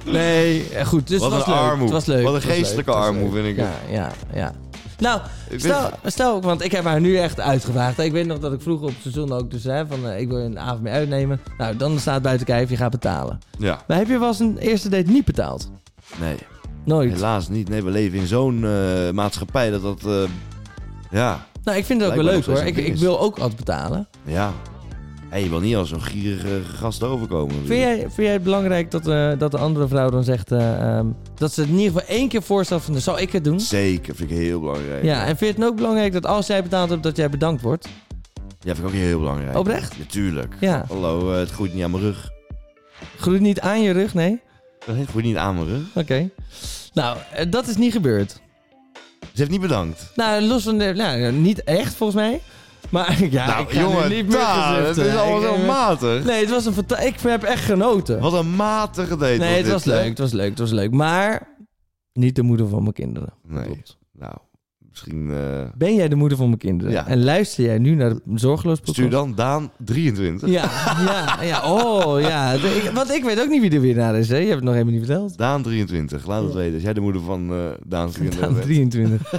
S2: Nee, eh, goed. Dus
S1: Wat
S2: het was
S1: een
S2: leuk.
S1: armoe.
S2: Het was leuk.
S1: Wat een
S2: Het was leuk.
S1: geestelijke
S2: Het was
S1: armoe,
S2: leuk.
S1: vind ik
S2: Ja, ja, ja. Nou,
S1: Ik
S2: stel, stel ook, want ik heb haar nu echt uitgewaagd. Ik weet nog dat ik vroeger op het seizoen ook dus, hè, van eh, ik wil je een avond mee uitnemen. Nou, dan staat buiten kijf, je gaat betalen.
S1: Ja,
S2: Maar heb je wel eens een eerste date niet betaald?
S1: nee.
S2: Nooit.
S1: Helaas niet. Nee, we leven in zo'n eh, maatschappij dat dat... eh, ja,
S2: Nou, ik vind het ook wel leuk
S1: Blijkbaar nog
S2: hoor.
S1: steeds
S2: Ik,
S1: een ding
S2: ik
S1: is.
S2: wil ook altijd betalen.
S1: ja. En je wil niet als zo'n gierige gast overkomen.
S2: Vind
S1: natuurlijk.
S2: jij, vind jij het belangrijk dat, eh, dat de andere vrouw dan zegt eh, ehm, dat ze het in ieder geval één keer voorstelt van zou ik het doen?
S1: Zeker, vind ik heel belangrijk.
S2: Ja, en vind je het ook belangrijk dat als jij betaald hebt, dat jij bedankt wordt?
S1: Ja, vind ik ook heel belangrijk.
S2: Oprecht?
S1: Natuurlijk.
S2: Ja.
S1: Hallo, eh, het groeit niet aan mijn rug.
S2: Groeit niet aan je rug, nee?
S1: Het groeit niet aan mijn rug.
S2: Oké. Nou, eh, dat is niet gebeurd.
S1: Ze heeft niet bedankt.
S2: Nou, los van de... Nou, niet echt volgens mij. Maar ja, ik
S1: nou,
S2: ga
S1: jongen,
S2: nu niet meer
S1: daar,
S2: gezichten.
S1: het is allemaal
S2: Ik-
S1: zo
S2: ik-
S1: matig.
S2: Nee, het was een fanta- Ik heb echt genoten.
S1: Wat een matige date
S2: nee, het
S1: dit,
S2: was
S1: hè?
S2: leuk, het was leuk, het was leuk. Maar niet de moeder van mijn kinderen.
S1: Nee.
S2: Klopt.
S1: Nou, misschien... eh,
S2: Ben jij de moeder van mijn kinderen?
S1: Ja.
S2: En luister jij nu naar de zorgeloos podcast?
S1: stuur dan Daan 23.
S2: Ja, ja, ja. Oh, ja. De- ik- want ik weet ook niet wie de winnaar is, hè? Je hebt het nog helemaal niet verteld.
S1: Daan 23, laat het weten. Als jij de moeder van eh Daan 23
S2: Aan
S1: bent.
S2: 23.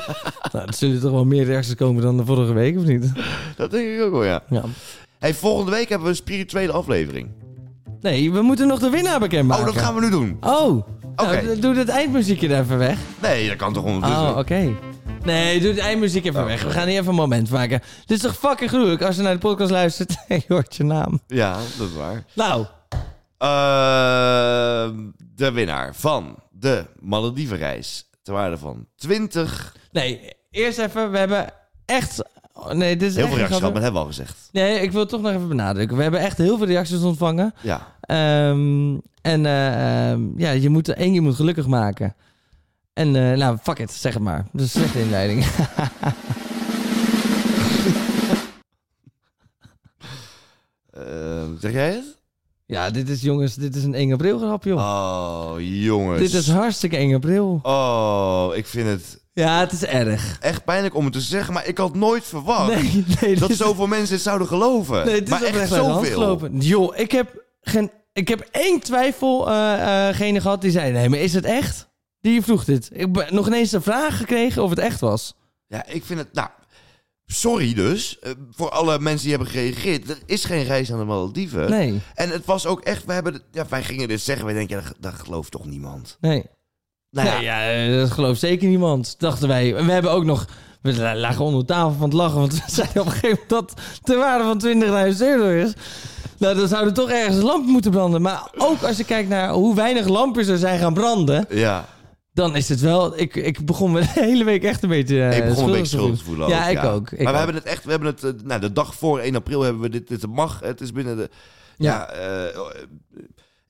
S2: nou, er zullen toch wel meer reacties komen dan de vorige week, of niet?
S1: Dat denk ik ook wel, ja.
S2: Ja.
S1: Hey, volgende week hebben we een spirituele aflevering.
S2: Nee, we moeten nog de winnaar bekendmaken.
S1: Oh, dat gaan we nu doen.
S2: Oh, nou,
S1: Oké.
S2: d- doe het eindmuziekje er even weg.
S1: Nee, dat kan toch ondertussen.
S2: Oh, oké. Nee, doe het eindmuziek
S1: Oh.
S2: even weg. We gaan hier even een moment maken. Dit is toch fucking gruwelijk als je naar de podcast luistert en je hoort je naam.
S1: Ja, dat is waar.
S2: Nou,
S1: Eh, de winnaar van de Maledivenreis. Ter waarde van 20.
S2: nee, eerst even, we hebben echt... oh, Nee, dit is
S1: Heel
S2: echt
S1: veel reacties
S2: een
S1: gehad,
S2: grappig-
S1: maar dat hebben we al gezegd.
S2: Nee, ik wil het toch nog even benadrukken. We hebben echt heel veel reacties ontvangen.
S1: Ja,
S2: Ehm, en eh, ehm, ja, je moet er één je moet gelukkig maken. En eh, nou, fuck it, zeg het maar. Dat is een slechte inleiding.
S1: Eh, zeg jij het?
S2: ja, dit is jongens, dit is een enge brilgrap, joh.
S1: Oh, jongens.
S2: dit is hartstikke enge bril.
S1: Oh, ik vind het
S2: Ja, het is erg.
S1: echt pijnlijk om het te zeggen, maar ik had nooit verwacht
S2: Nee, nee,
S1: Oh, dat
S2: dit-
S1: zoveel mensen het zouden geloven.
S2: nee, het is
S1: maar echt
S2: oprecht uit de hand
S1: zoveel.
S2: gelopen. Joh, ik heb geen, ik heb één twijfelgene gehad die zei, nee, maar is het echt? Die vroeg dit. Ik heb nog ineens de vraag gekregen of het echt was.
S1: Ja, ik vind het. Nou, sorry dus eh, voor alle mensen die hebben gereageerd. Er is geen reis naar de Malediven.
S2: Nee,
S1: En het was ook echt. We hebben, ja, wij gingen dit zeggen. Wij denken, ja, dat, dat gelooft toch niemand.
S2: nee.
S1: Nou ja,
S2: nee, ja, eh, dat gelooft zeker niemand, dachten wij. En we hebben ook nog... We la- lagen onder de tafel van het lachen, want we zeiden op een gegeven moment dat de waarde van 20.000 euro is. Nou, dan zouden toch ergens een lamp moeten branden. Maar ook als je kijkt naar hoe weinig lampen er zijn gaan branden,
S1: ja.
S2: dan is het wel... Ik, ik begon me de hele week echt een beetje eh,
S1: ik begon een beetje
S2: te
S1: schuldig te
S2: voelen.
S1: voelen.
S2: Ja,
S1: ook,
S2: ik ook. Ik
S1: maar
S2: ook.
S1: we hebben het echt, we hebben het, eh, nou, de dag voor 1 april hebben we dit, dit mag. Het is binnen de, ja, eh, oh, eh,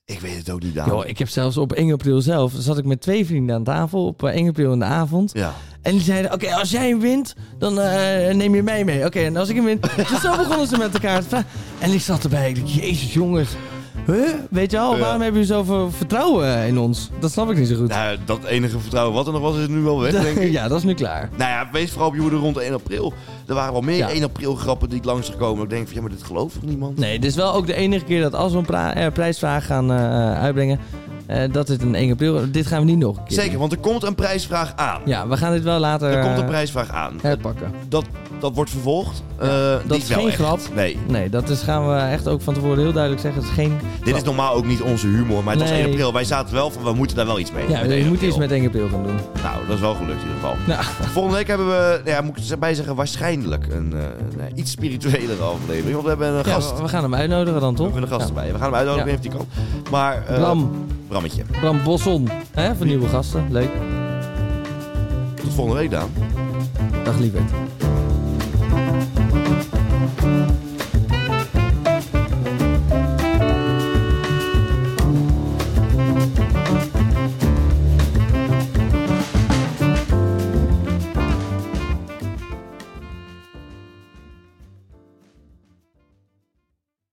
S1: ik weet het ook niet, Daan.
S2: Yo, ik heb zelfs op 1 april zelf, zat ik met twee vrienden aan tafel op eh, 1 april in de avond.
S1: Ja,
S2: En die zeiden, oké, als jij hem wint, dan eh, neem je mij mee. Oké, en als ik hem win... Dus zo begonnen ze met elkaar te praten. En ik zat erbij, ik dacht, jezus jongens. Huh? Weet je al,
S1: Ja.
S2: waarom hebben jullie zoveel vertrouwen eh, in ons? Dat snap ik niet zo goed.
S1: nou, dat enige vertrouwen wat er nog was is nu wel weg, denk ik.
S2: ja, dat is nu klaar.
S1: Nou ja, wees vooral op je hoede rond 1 april. Er waren wel meer
S2: Ja.
S1: 1 april grappen die ik langs gekomen. Ik denk van, ja, maar dit gelooft toch niemand?
S2: Nee, dit is wel ook de enige keer dat als we een pra- eh, prijsvraag gaan eh, uitbrengen... eh, dat dit een 1 april... Dit gaan we niet nog een keer
S1: Zeker,
S2: doen.
S1: want er komt een prijsvraag aan.
S2: Ja, we gaan dit wel later
S1: Er komt een
S2: eh,
S1: prijsvraag aan.
S2: herpakken.
S1: Dat, dat wordt vervolgd. Eh,
S2: dat
S1: niet
S2: is
S1: wel
S2: geen
S1: echt.
S2: grap.
S1: Nee,
S2: Nee, dat is, gaan we echt ook van tevoren heel duidelijk zeggen. Het is geen...
S1: dit is normaal ook niet onze humor, maar het was
S2: Nee.
S1: 1 april. Wij zaten wel van, we moeten daar wel iets mee.
S2: Ja,
S1: met
S2: we
S1: 1
S2: moeten
S1: april.
S2: Eh, iets met 1 april gaan doen.
S1: Nou, dat is wel gelukt in ieder geval.
S2: Nou,
S1: Volgende week hebben we, ja, moet ik erbij zeggen, waarschijnlijk een, eh, een eh, iets spirituelere aflevering. Want we hebben een
S2: ja,
S1: gast.
S2: we gaan hem uitnodigen dan,
S1: we
S2: toch?
S1: hebben een gast
S2: Ja.
S1: erbij. We gaan hem uitnodigen,
S2: Ja.
S1: heeft die kant. Maar, eh,
S2: Bram,
S1: Brammetje.
S2: Bram Bosson. Hè, voor nieuwe gasten. Leuk.
S1: Tot volgende week, Daan.
S2: Dag lieverd.